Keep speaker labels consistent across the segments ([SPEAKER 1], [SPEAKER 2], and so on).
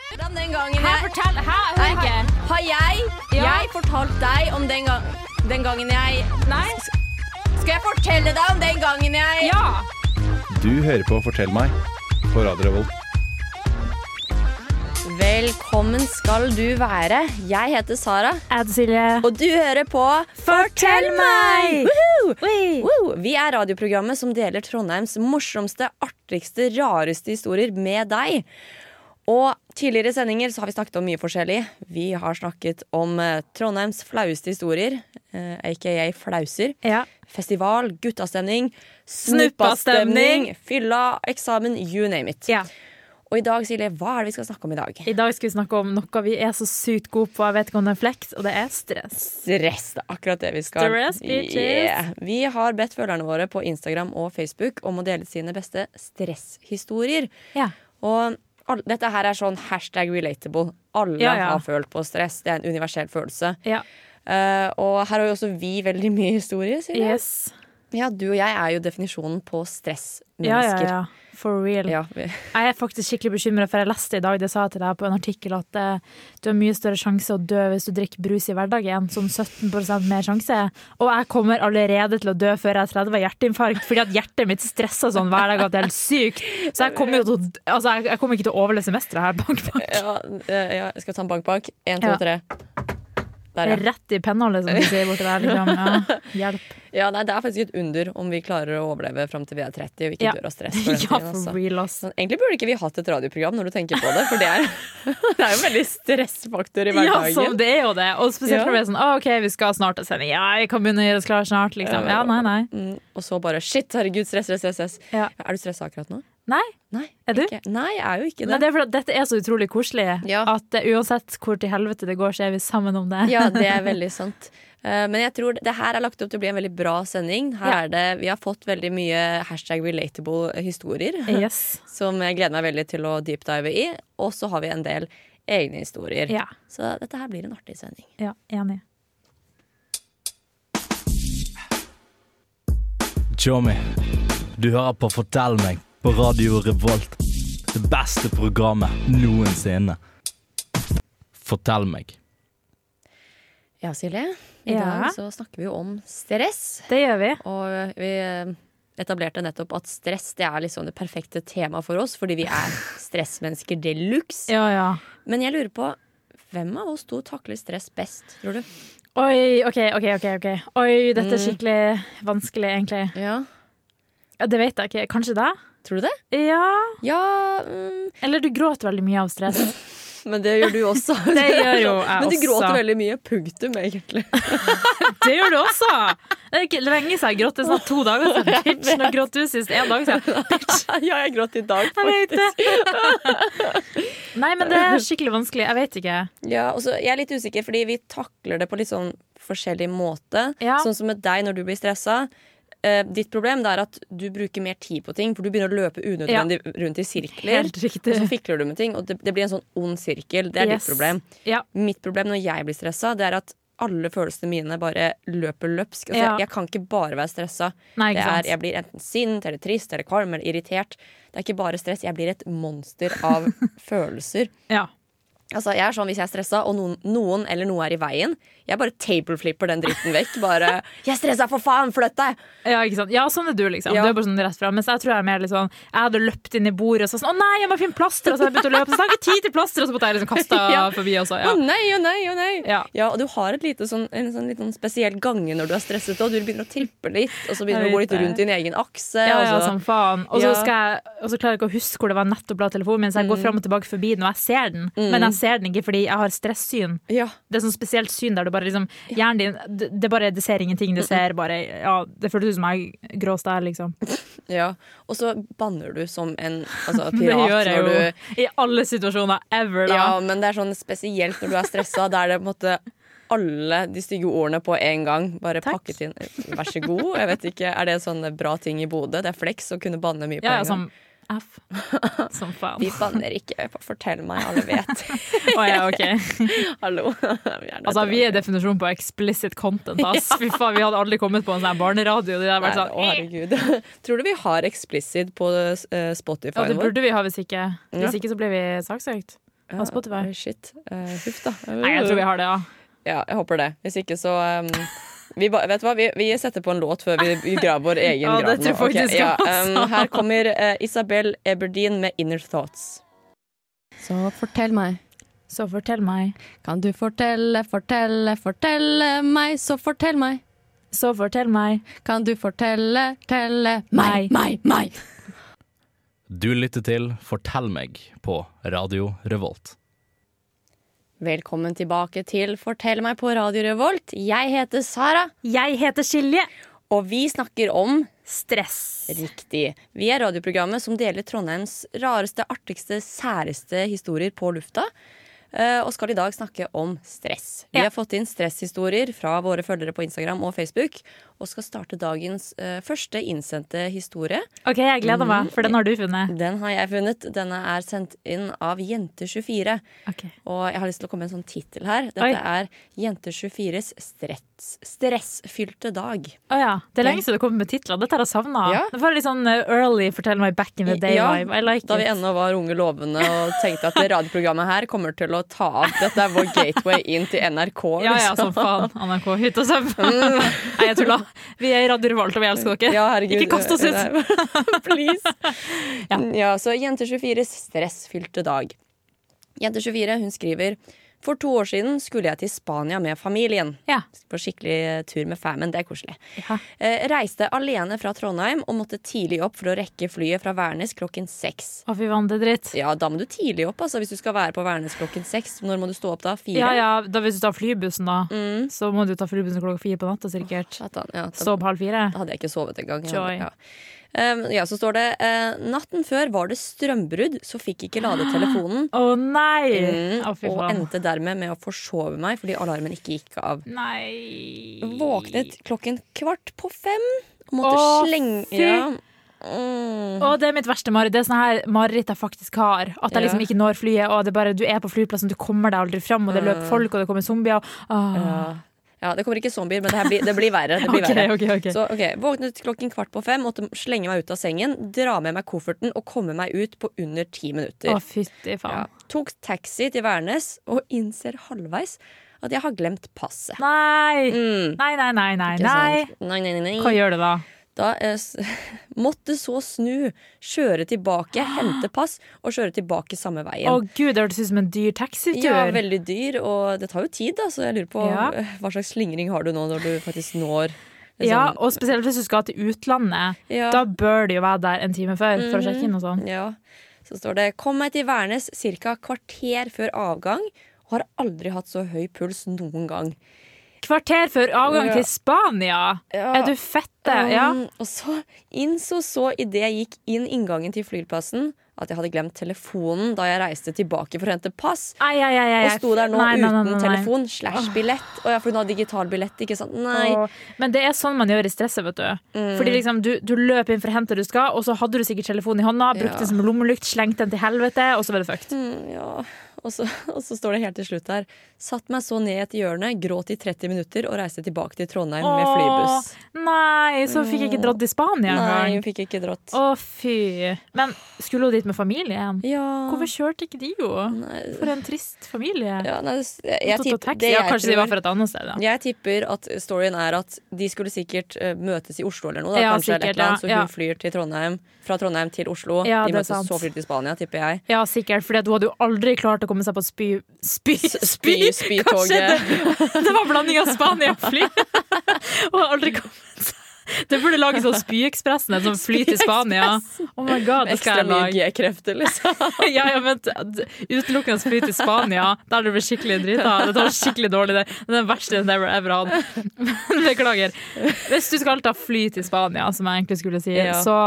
[SPEAKER 1] Hvordan den gangen
[SPEAKER 2] Hæ,
[SPEAKER 1] jeg
[SPEAKER 2] fortell! Hæ, jeg hører
[SPEAKER 1] Nei,
[SPEAKER 2] ikke.
[SPEAKER 1] Har jeg,
[SPEAKER 2] Ja.
[SPEAKER 1] jeg fortalt deg om den, gang, den gangen jeg
[SPEAKER 2] Nei?
[SPEAKER 1] Skal jeg fortelle deg om den gangen jeg
[SPEAKER 2] Ja!
[SPEAKER 3] Du hører på Fortell meg på Radio Revolt.
[SPEAKER 1] Velkommen skal du være. Jeg heter Sara,
[SPEAKER 4] Jeg heter Silje.
[SPEAKER 1] og du hører på
[SPEAKER 4] Fortell meg!
[SPEAKER 1] Woohoo!
[SPEAKER 4] Oi.
[SPEAKER 1] Woo! Vi er radioprogrammet som deler Trondheims morsomste, artigste, rareste historier med deg. Og tidligere i sendinger så har vi snakket om mye forskjellig. Vi har snakket om eh, Trondheims flaueste historier, eh, aka flauser.
[SPEAKER 4] Ja.
[SPEAKER 1] Festival, guttastemning,
[SPEAKER 4] Snuppastemning.
[SPEAKER 1] snuppastemning, fylla, eksamen, you name it.
[SPEAKER 4] ja.
[SPEAKER 1] Og i dag, Silje, hva er det vi skal snakke om i dag?
[SPEAKER 4] I dag skal vi snakke om noe vi er så sykt gode på. Jeg vet ikke om det er flex, og det er stress.
[SPEAKER 1] Stress, det er akkurat det vi skal.
[SPEAKER 4] Stress, bitches.
[SPEAKER 1] Vi har bedt følgerne våre på Instagram og Facebook om å dele sine beste stresshistorier.
[SPEAKER 4] Ja.
[SPEAKER 1] Og all, dette her er sånn hashtag relatable. Alle
[SPEAKER 4] Ja, ja.
[SPEAKER 1] har følt på stress. Det er en universell følelse.
[SPEAKER 4] Ja.
[SPEAKER 1] Eh, og her har jo også vi veldig mye historier, Silje.
[SPEAKER 4] Yes.
[SPEAKER 1] Ja, du og jeg er jo definisjonen på stressmennesker.
[SPEAKER 4] Ja, ja, ja. For real.
[SPEAKER 1] Ja, vi-
[SPEAKER 4] Jeg er faktisk skikkelig bekymra, for jeg leste i dag det sa jeg til deg på en artikkel at eh, du har mye større sjanse å dø hvis du drikker brus i hverdagen. Sånn 17 mer sjanse. Og jeg kommer allerede til å dø før jeg er 30 av hjerteinfarkt, fordi at hjertet mitt stresser sånn hver dag at det er helt sykt. Så jeg kommer, jo til, å- altså, jeg, jeg kommer ikke til å overleve semesteret her. Bank, bank.
[SPEAKER 1] ja, eh, ja, jeg skal ta en bank-bank. Én, to,
[SPEAKER 4] Ja.
[SPEAKER 1] tre. Der, ja.
[SPEAKER 4] Rett i pennholdet, som de sier borti der. Liksom. Ja. Hjelp.
[SPEAKER 1] ja. Nei, det er faktisk et under om vi klarer å overleve fram til vi er 30 og ikke
[SPEAKER 4] Ja.
[SPEAKER 1] dør av stress. For
[SPEAKER 4] Ja,
[SPEAKER 1] den tiden, altså.
[SPEAKER 4] for real, ass.
[SPEAKER 1] Sånn, Egentlig burde ikke vi hatt et radioprogram når du tenker på det, for det er, det er jo en veldig stressfaktor i
[SPEAKER 4] Ja, som
[SPEAKER 1] hverdagen.
[SPEAKER 4] det er jo det. Og spesielt
[SPEAKER 1] Ja.
[SPEAKER 4] når vi er sånn ah, OK, vi skal snart ha sending. Ja, vi kan begynne å gjøre oss klare snart, liksom. Ja, nei, nei.
[SPEAKER 1] Mm, og så bare shit, herregud, stress, stress, stress. stress.
[SPEAKER 4] Ja.
[SPEAKER 1] Er du stressa akkurat nå?
[SPEAKER 4] Nei.
[SPEAKER 1] Nei,
[SPEAKER 4] Er du?
[SPEAKER 1] Ikke. Nei, jeg er jo ikke
[SPEAKER 4] Nei,
[SPEAKER 1] det.
[SPEAKER 4] det er fordi at dette er så utrolig koselig
[SPEAKER 1] Ja.
[SPEAKER 4] at eh, uansett hvor til helvete det går, så er vi sammen om det.
[SPEAKER 1] Ja, det er veldig sant. Eh, Men jeg tror det her er lagt opp til å bli en veldig bra sending. Her
[SPEAKER 4] Ja.
[SPEAKER 1] er det, vi har fått veldig mye hashtag relatable historier,
[SPEAKER 4] Yes.
[SPEAKER 1] som jeg gleder meg veldig til å deepdive i. Og så har vi en del egne historier.
[SPEAKER 4] Ja.
[SPEAKER 1] Så dette her blir en artig sending.
[SPEAKER 4] ja, enig.
[SPEAKER 5] Tjommi, du hører på Fortell meg på Radio Revolt. Det beste programmet noensinne. Fortell meg.
[SPEAKER 1] Ja, Silje. I
[SPEAKER 4] Ja.
[SPEAKER 1] dag så snakker vi jo om stress.
[SPEAKER 4] Det gjør vi.
[SPEAKER 1] Og vi eh, etablerte nettopp at stress det er liksom det perfekte temaet for oss, fordi vi er stressmennesker de luxe.
[SPEAKER 4] Ja, ja.
[SPEAKER 1] Men jeg lurer på, hvem av oss to takler stress best, tror du?
[SPEAKER 4] Oi, OK, OK, OK. ok Oi, dette er skikkelig vanskelig, egentlig.
[SPEAKER 1] Ja.
[SPEAKER 4] Ja, det vet jeg ikke. Kanskje deg?
[SPEAKER 1] Tror du det?
[SPEAKER 4] Ja.
[SPEAKER 1] Ja, mm,
[SPEAKER 4] Eller du gråter veldig mye av stress.
[SPEAKER 1] men det gjør du også.
[SPEAKER 4] Det gjør jo jeg
[SPEAKER 1] Men du gråter
[SPEAKER 4] også.
[SPEAKER 1] veldig mye. Punktum, egentlig.
[SPEAKER 4] Det gjør du også! Det er ikke lenge siden jeg gråt. Det er snart to dager siden. Bitch, nå gråt du sist en dag siden.
[SPEAKER 1] ja, jeg gråt i dag.
[SPEAKER 4] Jeg vet det! Nei, men det er skikkelig vanskelig. Jeg vet ikke.
[SPEAKER 1] Ja, og så Jeg er litt usikker, fordi vi takler det på litt sånn forskjellig måte.
[SPEAKER 4] Ja.
[SPEAKER 1] Sånn som med deg når du blir stressa. Eh, ditt problem det er at du bruker mer tid på ting, for du begynner å løpe unødvendig rundt i sirkler.
[SPEAKER 4] Helt riktig.
[SPEAKER 1] Og så fikler du med ting, og det, det blir en sånn ond sirkel. Det er
[SPEAKER 4] Yes.
[SPEAKER 1] ditt problem.
[SPEAKER 4] Ja.
[SPEAKER 1] Mitt problem når jeg blir stressa, det er at alle følelsene mine bare løper løpsk. Altså,
[SPEAKER 4] Ja.
[SPEAKER 1] Jeg kan ikke bare være stressa.
[SPEAKER 4] Nei,
[SPEAKER 1] Det
[SPEAKER 4] ikke
[SPEAKER 1] er,
[SPEAKER 4] sant.
[SPEAKER 1] jeg blir enten sint eller trist eller kvalm eller irritert. Det er ikke bare stress. Jeg blir et monster av følelser.
[SPEAKER 4] Ja.
[SPEAKER 1] Altså, jeg er sånn Hvis jeg er stressa, og noen, noen eller noe er i veien, jeg bare tableflipper den dritten vekk. Bare 'Jeg er stressa, for faen! Flytt deg!'
[SPEAKER 4] ja, ikke sant. Ja, sånn er du, liksom.
[SPEAKER 1] Ja.
[SPEAKER 4] Du er bare sånn rett fra. Mens jeg tror jeg er mer litt sånn Jeg hadde løpt inn i bordet og så sånn Å nei, jeg må finne plaster! Og så har jeg begynt å løpe, så har jeg ikke tid til plaster! Og så måtte jeg liksom kaste
[SPEAKER 1] Ja.
[SPEAKER 4] forbi
[SPEAKER 1] Å
[SPEAKER 4] også. Ja.
[SPEAKER 1] nei, å nei, å nei.
[SPEAKER 4] Ja.
[SPEAKER 1] og du har et lite sånn, en sånn litt sånn spesiell gange når du er stresset, og du begynner å trippe litt, og så begynner
[SPEAKER 4] Jeg
[SPEAKER 1] du å gå
[SPEAKER 4] vet
[SPEAKER 1] litt rundt
[SPEAKER 4] det.
[SPEAKER 1] din egen akse.
[SPEAKER 4] Ja, sånn. ja,
[SPEAKER 1] og så,
[SPEAKER 4] som faen. Og så,
[SPEAKER 1] Ja. Mm.
[SPEAKER 4] skal jeg, og så klarer jeg ikke å huske hvor det var nettopp la telefonen min, så jeg går fram og tilbake forbi den, og jeg ser den. Men jeg ser den ikke fordi jeg har stressyn.
[SPEAKER 1] ja.
[SPEAKER 4] Det er sånn spesielt syn der du bare liksom Hjernen din, det, det bare, det ser ingenting. Det ser bare Ja, det føles ut som jeg grå stær, liksom.
[SPEAKER 1] ja. Og så banner du som en altså,
[SPEAKER 4] Det
[SPEAKER 1] pirat
[SPEAKER 4] gjør
[SPEAKER 1] når
[SPEAKER 4] jeg jo
[SPEAKER 1] du
[SPEAKER 4] i alle situasjoner ever, da.
[SPEAKER 1] Ja, men det er sånn spesielt når du er stressa, da er det på en måte alle de stygge ordene på en gang. Bare
[SPEAKER 4] Takk.
[SPEAKER 1] pakket inn. Vær så god. Jeg vet ikke, Er det sånn bra ting i Bodø? Det er flex å kunne banne mye på
[SPEAKER 4] Ja, altså, ja,
[SPEAKER 1] en gang.
[SPEAKER 4] som F. Som faen.
[SPEAKER 1] Vi banner ikke. Fortell meg. Alle vet.
[SPEAKER 4] Å ja, ok.
[SPEAKER 1] Hallo. Vi er
[SPEAKER 4] Altså, vi er definisjonen på explicit content, ass. Fy faen, vi hadde aldri kommet på en sånn her barneradio. Det, der vært
[SPEAKER 1] Nei, å,
[SPEAKER 4] sånn,
[SPEAKER 1] herregud. Tror du vi har explicit på eh,
[SPEAKER 4] ja,
[SPEAKER 1] Spotify
[SPEAKER 4] det
[SPEAKER 1] vår?
[SPEAKER 4] burde vi ha hvis ikke.
[SPEAKER 1] Ja.
[SPEAKER 4] Hvis ikke så blir vi saksøkt.
[SPEAKER 1] Ja,
[SPEAKER 4] Av Spotify.
[SPEAKER 1] eh, Shit. Eh, huff, da.
[SPEAKER 4] Nei, jeg tror vi har det, ja.
[SPEAKER 1] Ja, jeg håper det. Hvis ikke, så um, vi, ba, vet du hva? Vi, vi setter på en låt før vi vi graver vår egen
[SPEAKER 4] Ja, det
[SPEAKER 1] grav. nå.
[SPEAKER 4] tror jeg
[SPEAKER 1] Ok,
[SPEAKER 4] faktisk
[SPEAKER 1] ja,
[SPEAKER 4] jeg
[SPEAKER 1] um, her kommer eh, Isabel Eberdeen med 'Inner Thoughts'.
[SPEAKER 2] Så fortell meg.
[SPEAKER 4] Så fortell meg,
[SPEAKER 2] Kan du fortelle, fortelle, fortelle meg, så fortell meg.
[SPEAKER 4] så fortell meg.
[SPEAKER 2] Kan du fortelle, telle
[SPEAKER 4] Meg.
[SPEAKER 2] meg, meg, meg.
[SPEAKER 5] Du lytter til Fortell meg på Radio Revolt.
[SPEAKER 1] Velkommen tilbake til Fortell meg på Radio Revolt. Jeg heter Sara,
[SPEAKER 4] Jeg heter Silje.
[SPEAKER 1] og vi snakker om
[SPEAKER 4] Stress.
[SPEAKER 1] Riktig. Vi er radioprogrammet som deler Trondheims rareste, artigste, særeste historier på lufta. eh, Og skal i dag snakke om stress. Vi
[SPEAKER 4] Ja.
[SPEAKER 1] har fått inn stresshistorier fra våre følgere på Instagram og Facebook. Og skal starte dagens eh, første innsendte historie.
[SPEAKER 4] OK, jeg gleder meg, for den har du funnet.
[SPEAKER 1] Den har jeg funnet. Denne er sendt inn av Jente24.
[SPEAKER 4] Ok.
[SPEAKER 1] Og jeg har lyst til å komme med en sånn tittel her.
[SPEAKER 4] Oi.
[SPEAKER 1] Dette er Jente24s stress, stressfylte dag.
[SPEAKER 4] Å ja. Det er lenge siden du kom med titler. Dette har jeg savna.
[SPEAKER 1] Ja.
[SPEAKER 4] Det var litt sånn eh, early 'fortell meg back in the day'-vibe. I like
[SPEAKER 1] da vi
[SPEAKER 4] it.
[SPEAKER 1] ennå var unge lovende og tenkte at det radioprogrammet her kommer til å ta av. Dette er vår gateway inn til NRK.
[SPEAKER 4] Ja ja,
[SPEAKER 1] liksom.
[SPEAKER 4] som faen. NRK, hytt og søvn. Nei, jeg tulla. Vi er i Radio Revolt, og vi elsker dere.
[SPEAKER 1] Ja, herregud.
[SPEAKER 4] Ikke kast oss ut.
[SPEAKER 1] Nei. Please.
[SPEAKER 4] Ja.
[SPEAKER 1] Ja. så Jente24s stressfylte dag. Jente24 hun skriver For to år siden skulle jeg til Spania med familien.
[SPEAKER 4] Ja.
[SPEAKER 1] På skikkelig tur med famen. Det er koselig.
[SPEAKER 4] Ja.
[SPEAKER 1] Eh, reiste alene fra Trondheim og måtte tidlig opp for å rekke flyet fra Værnes klokken seks.
[SPEAKER 4] Å, fy vann, det er dritt.
[SPEAKER 1] Ja, da må du tidlig opp altså, hvis du skal være på Værnes klokken seks. Når må du stå opp da? Fire?
[SPEAKER 4] Ja ja, da hvis du tar flybussen, da, så må du ta flybussen klokka fire på natta sikkert.
[SPEAKER 1] Satan, Mm. ja, da,
[SPEAKER 4] Stå opp halv fire.
[SPEAKER 1] da hadde jeg ikke sovet engang.
[SPEAKER 4] Joy.
[SPEAKER 1] Ja. Um, ja, så står det eh, Natten før var det strømbrudd, så fikk ikke ladet telefonen.
[SPEAKER 4] Å nei!
[SPEAKER 1] Mm,
[SPEAKER 4] Å, fy
[SPEAKER 1] og
[SPEAKER 4] faen.
[SPEAKER 1] endte dermed med å forsove meg fordi alarmen ikke gikk av.
[SPEAKER 4] Nei.
[SPEAKER 1] Våknet klokken kvart på fem og måtte
[SPEAKER 4] Å,
[SPEAKER 1] slenge
[SPEAKER 4] fy.
[SPEAKER 1] ja. mm.
[SPEAKER 4] Å, det er mitt verste mareritt. Det er sånne her mareritt jeg faktisk har. At jeg
[SPEAKER 1] Ja.
[SPEAKER 4] liksom ikke når flyet, og det er bare du er på flyplassen, du kommer deg aldri fram, og det løper folk, og det kommer zombier. og- Åh.
[SPEAKER 1] Mm. ja. ja, det kommer ikke zombier, men det, her blir, det blir verre. Det blir
[SPEAKER 4] Ok,
[SPEAKER 1] verre.
[SPEAKER 4] ok, ok.
[SPEAKER 1] Så ok, Våknet klokken kvart på fem, måtte slenge meg ut av sengen, dra med meg kofferten og komme meg ut på under ti minutter.
[SPEAKER 4] Å, fytti
[SPEAKER 1] Ja.
[SPEAKER 4] faen.
[SPEAKER 1] Tok taxi til Værnes og innser halvveis at jeg har glemt passet.
[SPEAKER 4] Nei.
[SPEAKER 1] Mm.
[SPEAKER 4] Nei, nei, nei, nei.
[SPEAKER 1] Ikke
[SPEAKER 4] nei.
[SPEAKER 1] sant? nei, nei, nei,
[SPEAKER 4] Hva
[SPEAKER 1] nei.
[SPEAKER 4] gjør du da?
[SPEAKER 1] Da eh, s- måtte så snu, kjøre tilbake, hente pass og kjøre tilbake samme veien.
[SPEAKER 4] Å gud, det hørtes ut som en dyr taxitur.
[SPEAKER 1] ja, veldig dyr, og det tar jo tid, da, så jeg lurer på
[SPEAKER 4] Ja.
[SPEAKER 1] eh, hva slags slingring har du nå når du faktisk når liksom-
[SPEAKER 4] Ja, og spesielt hvis du skal til utlandet.
[SPEAKER 1] Ja. Mhm.
[SPEAKER 4] Da bør du jo være der en time før for å sjekke inn og sånn.
[SPEAKER 1] Ja. Så står det 'Kom meg til Værnes ca. kvarter før avgang', og har aldri hatt så høy puls noen gang.
[SPEAKER 4] Kvarter før avgang
[SPEAKER 1] Ja.
[SPEAKER 4] til Spania!
[SPEAKER 1] Ja.
[SPEAKER 4] Er du fette? Ja.
[SPEAKER 1] Um, og så innså så idet jeg gikk inn inngangen til flyplassen, at jeg hadde glemt telefonen da jeg reiste tilbake for å hente pass.
[SPEAKER 4] Ai, ai, ai, ai.
[SPEAKER 1] Og sto der nå
[SPEAKER 4] Nei, nei, nei,
[SPEAKER 1] uten
[SPEAKER 4] nei, nei.
[SPEAKER 1] telefon slash billett. Og ja, for hun hadde digital billett, ikke sant? Nei. Mm.
[SPEAKER 4] Åh, Men det er sånn man gjør i stresset, vet du. Fordi liksom, du, du løp inn for å hente det du skal, og så hadde du sikkert telefonen i hånda, brukte
[SPEAKER 1] Ja.
[SPEAKER 4] den som lommelykt, slengte den til helvete, og så var det fucked.
[SPEAKER 1] Mm, ja. og, så, og så står det helt til slutt her. Satt meg så ned i et hjørne, gråt i 30 minutter og reiste tilbake til Trondheim med flybuss.
[SPEAKER 4] Åh, Nei, så fikk jeg ikke dratt til Spania
[SPEAKER 1] Mm. Nei,
[SPEAKER 4] engang.
[SPEAKER 1] hun fikk ikke dratt.
[SPEAKER 4] Å, fy. Men skulle hun dit med familien?
[SPEAKER 1] Ja.
[SPEAKER 4] Hvorfor kjørte ikke de jo?
[SPEAKER 1] Nei.
[SPEAKER 4] For en trist familie.
[SPEAKER 1] Ja, nei, det- jeg, jeg,
[SPEAKER 4] Og tatt
[SPEAKER 1] tipp-
[SPEAKER 4] og taxi.
[SPEAKER 1] det
[SPEAKER 4] ja,
[SPEAKER 1] jeg
[SPEAKER 4] kanskje de var
[SPEAKER 1] tror-
[SPEAKER 4] fra et annet sted, da.
[SPEAKER 1] Jeg tipper at storyen er at de skulle sikkert eh, møtes i Oslo eller noe. Da,
[SPEAKER 4] Ja,
[SPEAKER 1] kanskje, eller
[SPEAKER 4] sikkert,
[SPEAKER 1] et eller annet, så hun
[SPEAKER 4] ja, ja.
[SPEAKER 1] flyr til Trondheim, fra Trondheim til Oslo.
[SPEAKER 4] Ja, det
[SPEAKER 1] de
[SPEAKER 4] er
[SPEAKER 1] møtes
[SPEAKER 4] sant.
[SPEAKER 1] så flyr til Spania, tipper jeg.
[SPEAKER 4] Ja, sikkert, for hun hadde jo aldri klart å komme seg på spy... Spy... spy,
[SPEAKER 1] spy- spytoget.
[SPEAKER 4] Kanskje det, det var blanding av Spania og fly! Hun har aldri kommet seg Det burde lages sånn Spyekspressen, en sånn fly til Spania. Oh my god, det
[SPEAKER 1] Ekstra
[SPEAKER 4] skal jeg
[SPEAKER 1] mye
[SPEAKER 4] lage.
[SPEAKER 1] G-krefter, liksom.
[SPEAKER 4] Ja, ja, men t- Utelukkende fly til Spania, der du blir skikkelig drita. Det var skikkelig dårlig. Det Det er den verste jeg ever, ever hadde. Men Beklager. Hvis du skal ta fly til Spania, som jeg egentlig skulle si,
[SPEAKER 1] Ja.
[SPEAKER 4] så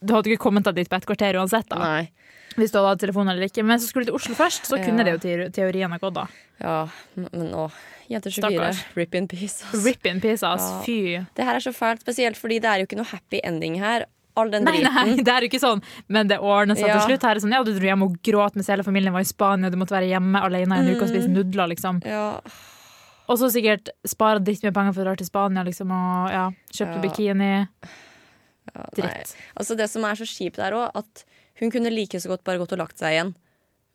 [SPEAKER 4] du hadde ikke kommet deg dit på et kvarter uansett, da.
[SPEAKER 1] Nei.
[SPEAKER 4] Hvis du hadde hatt telefon eller ikke. Men så skulle du til Oslo først, så
[SPEAKER 1] Ja.
[SPEAKER 4] kunne det jo teori- teorien ha gått, da.
[SPEAKER 1] Ja, men nå Jenter 24,
[SPEAKER 4] Stakkars.
[SPEAKER 1] rip in peace. Altså.
[SPEAKER 4] Rip in peace, ass.
[SPEAKER 1] Ja.
[SPEAKER 4] Fy.
[SPEAKER 1] Det her er så fælt, spesielt fordi det er jo ikke noe happy ending her. All den
[SPEAKER 4] Nei,
[SPEAKER 1] driten.
[SPEAKER 4] nei, det er jo ikke sånn, men det ordner seg
[SPEAKER 1] Ja.
[SPEAKER 4] til slutt. Her er det sånn, ja, Du dro hjem og gråt mens hele familien var i Spania, du måtte være hjemme alene i en uke og spise
[SPEAKER 1] Mm.
[SPEAKER 4] nudler, liksom.
[SPEAKER 1] Ja,
[SPEAKER 4] Og så sikkert spare dritt med penger for å dra til Spania, liksom, og ja,
[SPEAKER 1] Ja.
[SPEAKER 4] kjøpte bikini.
[SPEAKER 1] ja, nei.
[SPEAKER 4] Dritt.
[SPEAKER 1] Altså Det som er så kjipt, er òg at hun kunne like så godt bare gått og lagt seg igjen.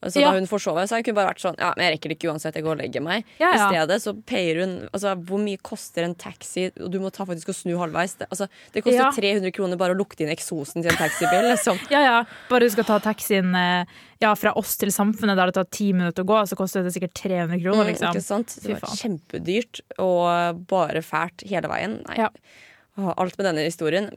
[SPEAKER 1] Så
[SPEAKER 4] Ja.
[SPEAKER 1] da hun forsov seg, kunne hun bare vært sånn Ja, men jeg rekker det ikke uansett, jeg går og legger meg.
[SPEAKER 4] Ja, ja.
[SPEAKER 1] I stedet så payer hun Altså, hvor mye koster en taxi, og du må ta faktisk og snu halvveis. Det, altså, det koster
[SPEAKER 4] Ja.
[SPEAKER 1] 300 kroner bare å lukte inn eksosen til en taxibil, liksom.
[SPEAKER 4] Ja, ja. Bare du skal ta taxien eh, ja, fra oss til samfunnet, der det tar ti minutter å gå, så koster det sikkert 300 kroner,
[SPEAKER 1] Mm,
[SPEAKER 4] liksom.
[SPEAKER 1] Ikke sant?
[SPEAKER 4] Fy
[SPEAKER 1] Det var kjempedyrt og bare fælt hele veien. Nei.
[SPEAKER 4] Ja.
[SPEAKER 1] Åh, Alt med denne historien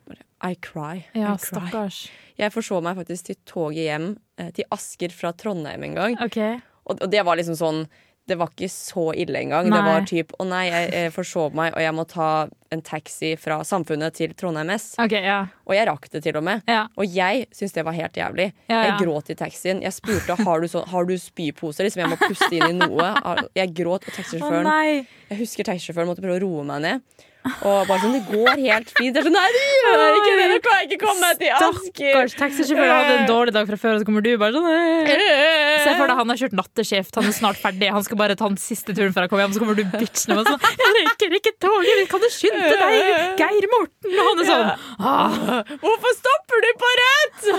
[SPEAKER 1] I cry.
[SPEAKER 4] Ja,
[SPEAKER 1] I cry.
[SPEAKER 4] stakkars.
[SPEAKER 1] Jeg forsov meg faktisk til toget hjem eh, til Asker fra Trondheim en gang.
[SPEAKER 4] OK.
[SPEAKER 1] Og, og det var liksom sånn Det var ikke så ille engang. Det
[SPEAKER 4] Nei.
[SPEAKER 1] var typ Å nei, jeg, jeg forsov meg, og jeg må ta en taxi fra Samfunnet til Trondheim S.
[SPEAKER 4] Ok, ja.
[SPEAKER 1] Og jeg rakk det til og med.
[SPEAKER 4] Ja.
[SPEAKER 1] Og jeg syntes det var helt jævlig.
[SPEAKER 4] Ja, ja.
[SPEAKER 1] Jeg gråt i taxien. Jeg spurte har du, så, har du spyposer. Liksom, jeg må puste inn i noe. Jeg gråt, og
[SPEAKER 4] Å
[SPEAKER 1] taxisjåføren
[SPEAKER 4] nei!
[SPEAKER 1] Jeg husker taxisjåføren måtte prøve å roe meg ned. Og bare sånn, det går helt fint. Jeg er sånn, nei, det gjør ikke det! Du kan ikke komme meg til Asker!
[SPEAKER 4] Stakkars taxisjåfør hadde en dårlig dag fra før, og så kommer du bare sånn eh. Se for deg, han har kjørt natteskift, han er snart ferdig, han skal bare ta den siste turen før han kommer hjem, så kommer du bitchen og bare sånn 'Jeg rekker ikke toget mitt, kan du skynde deg, Geir Morten?' Og han er sånn
[SPEAKER 1] Hvorfor stopper du på rødt?!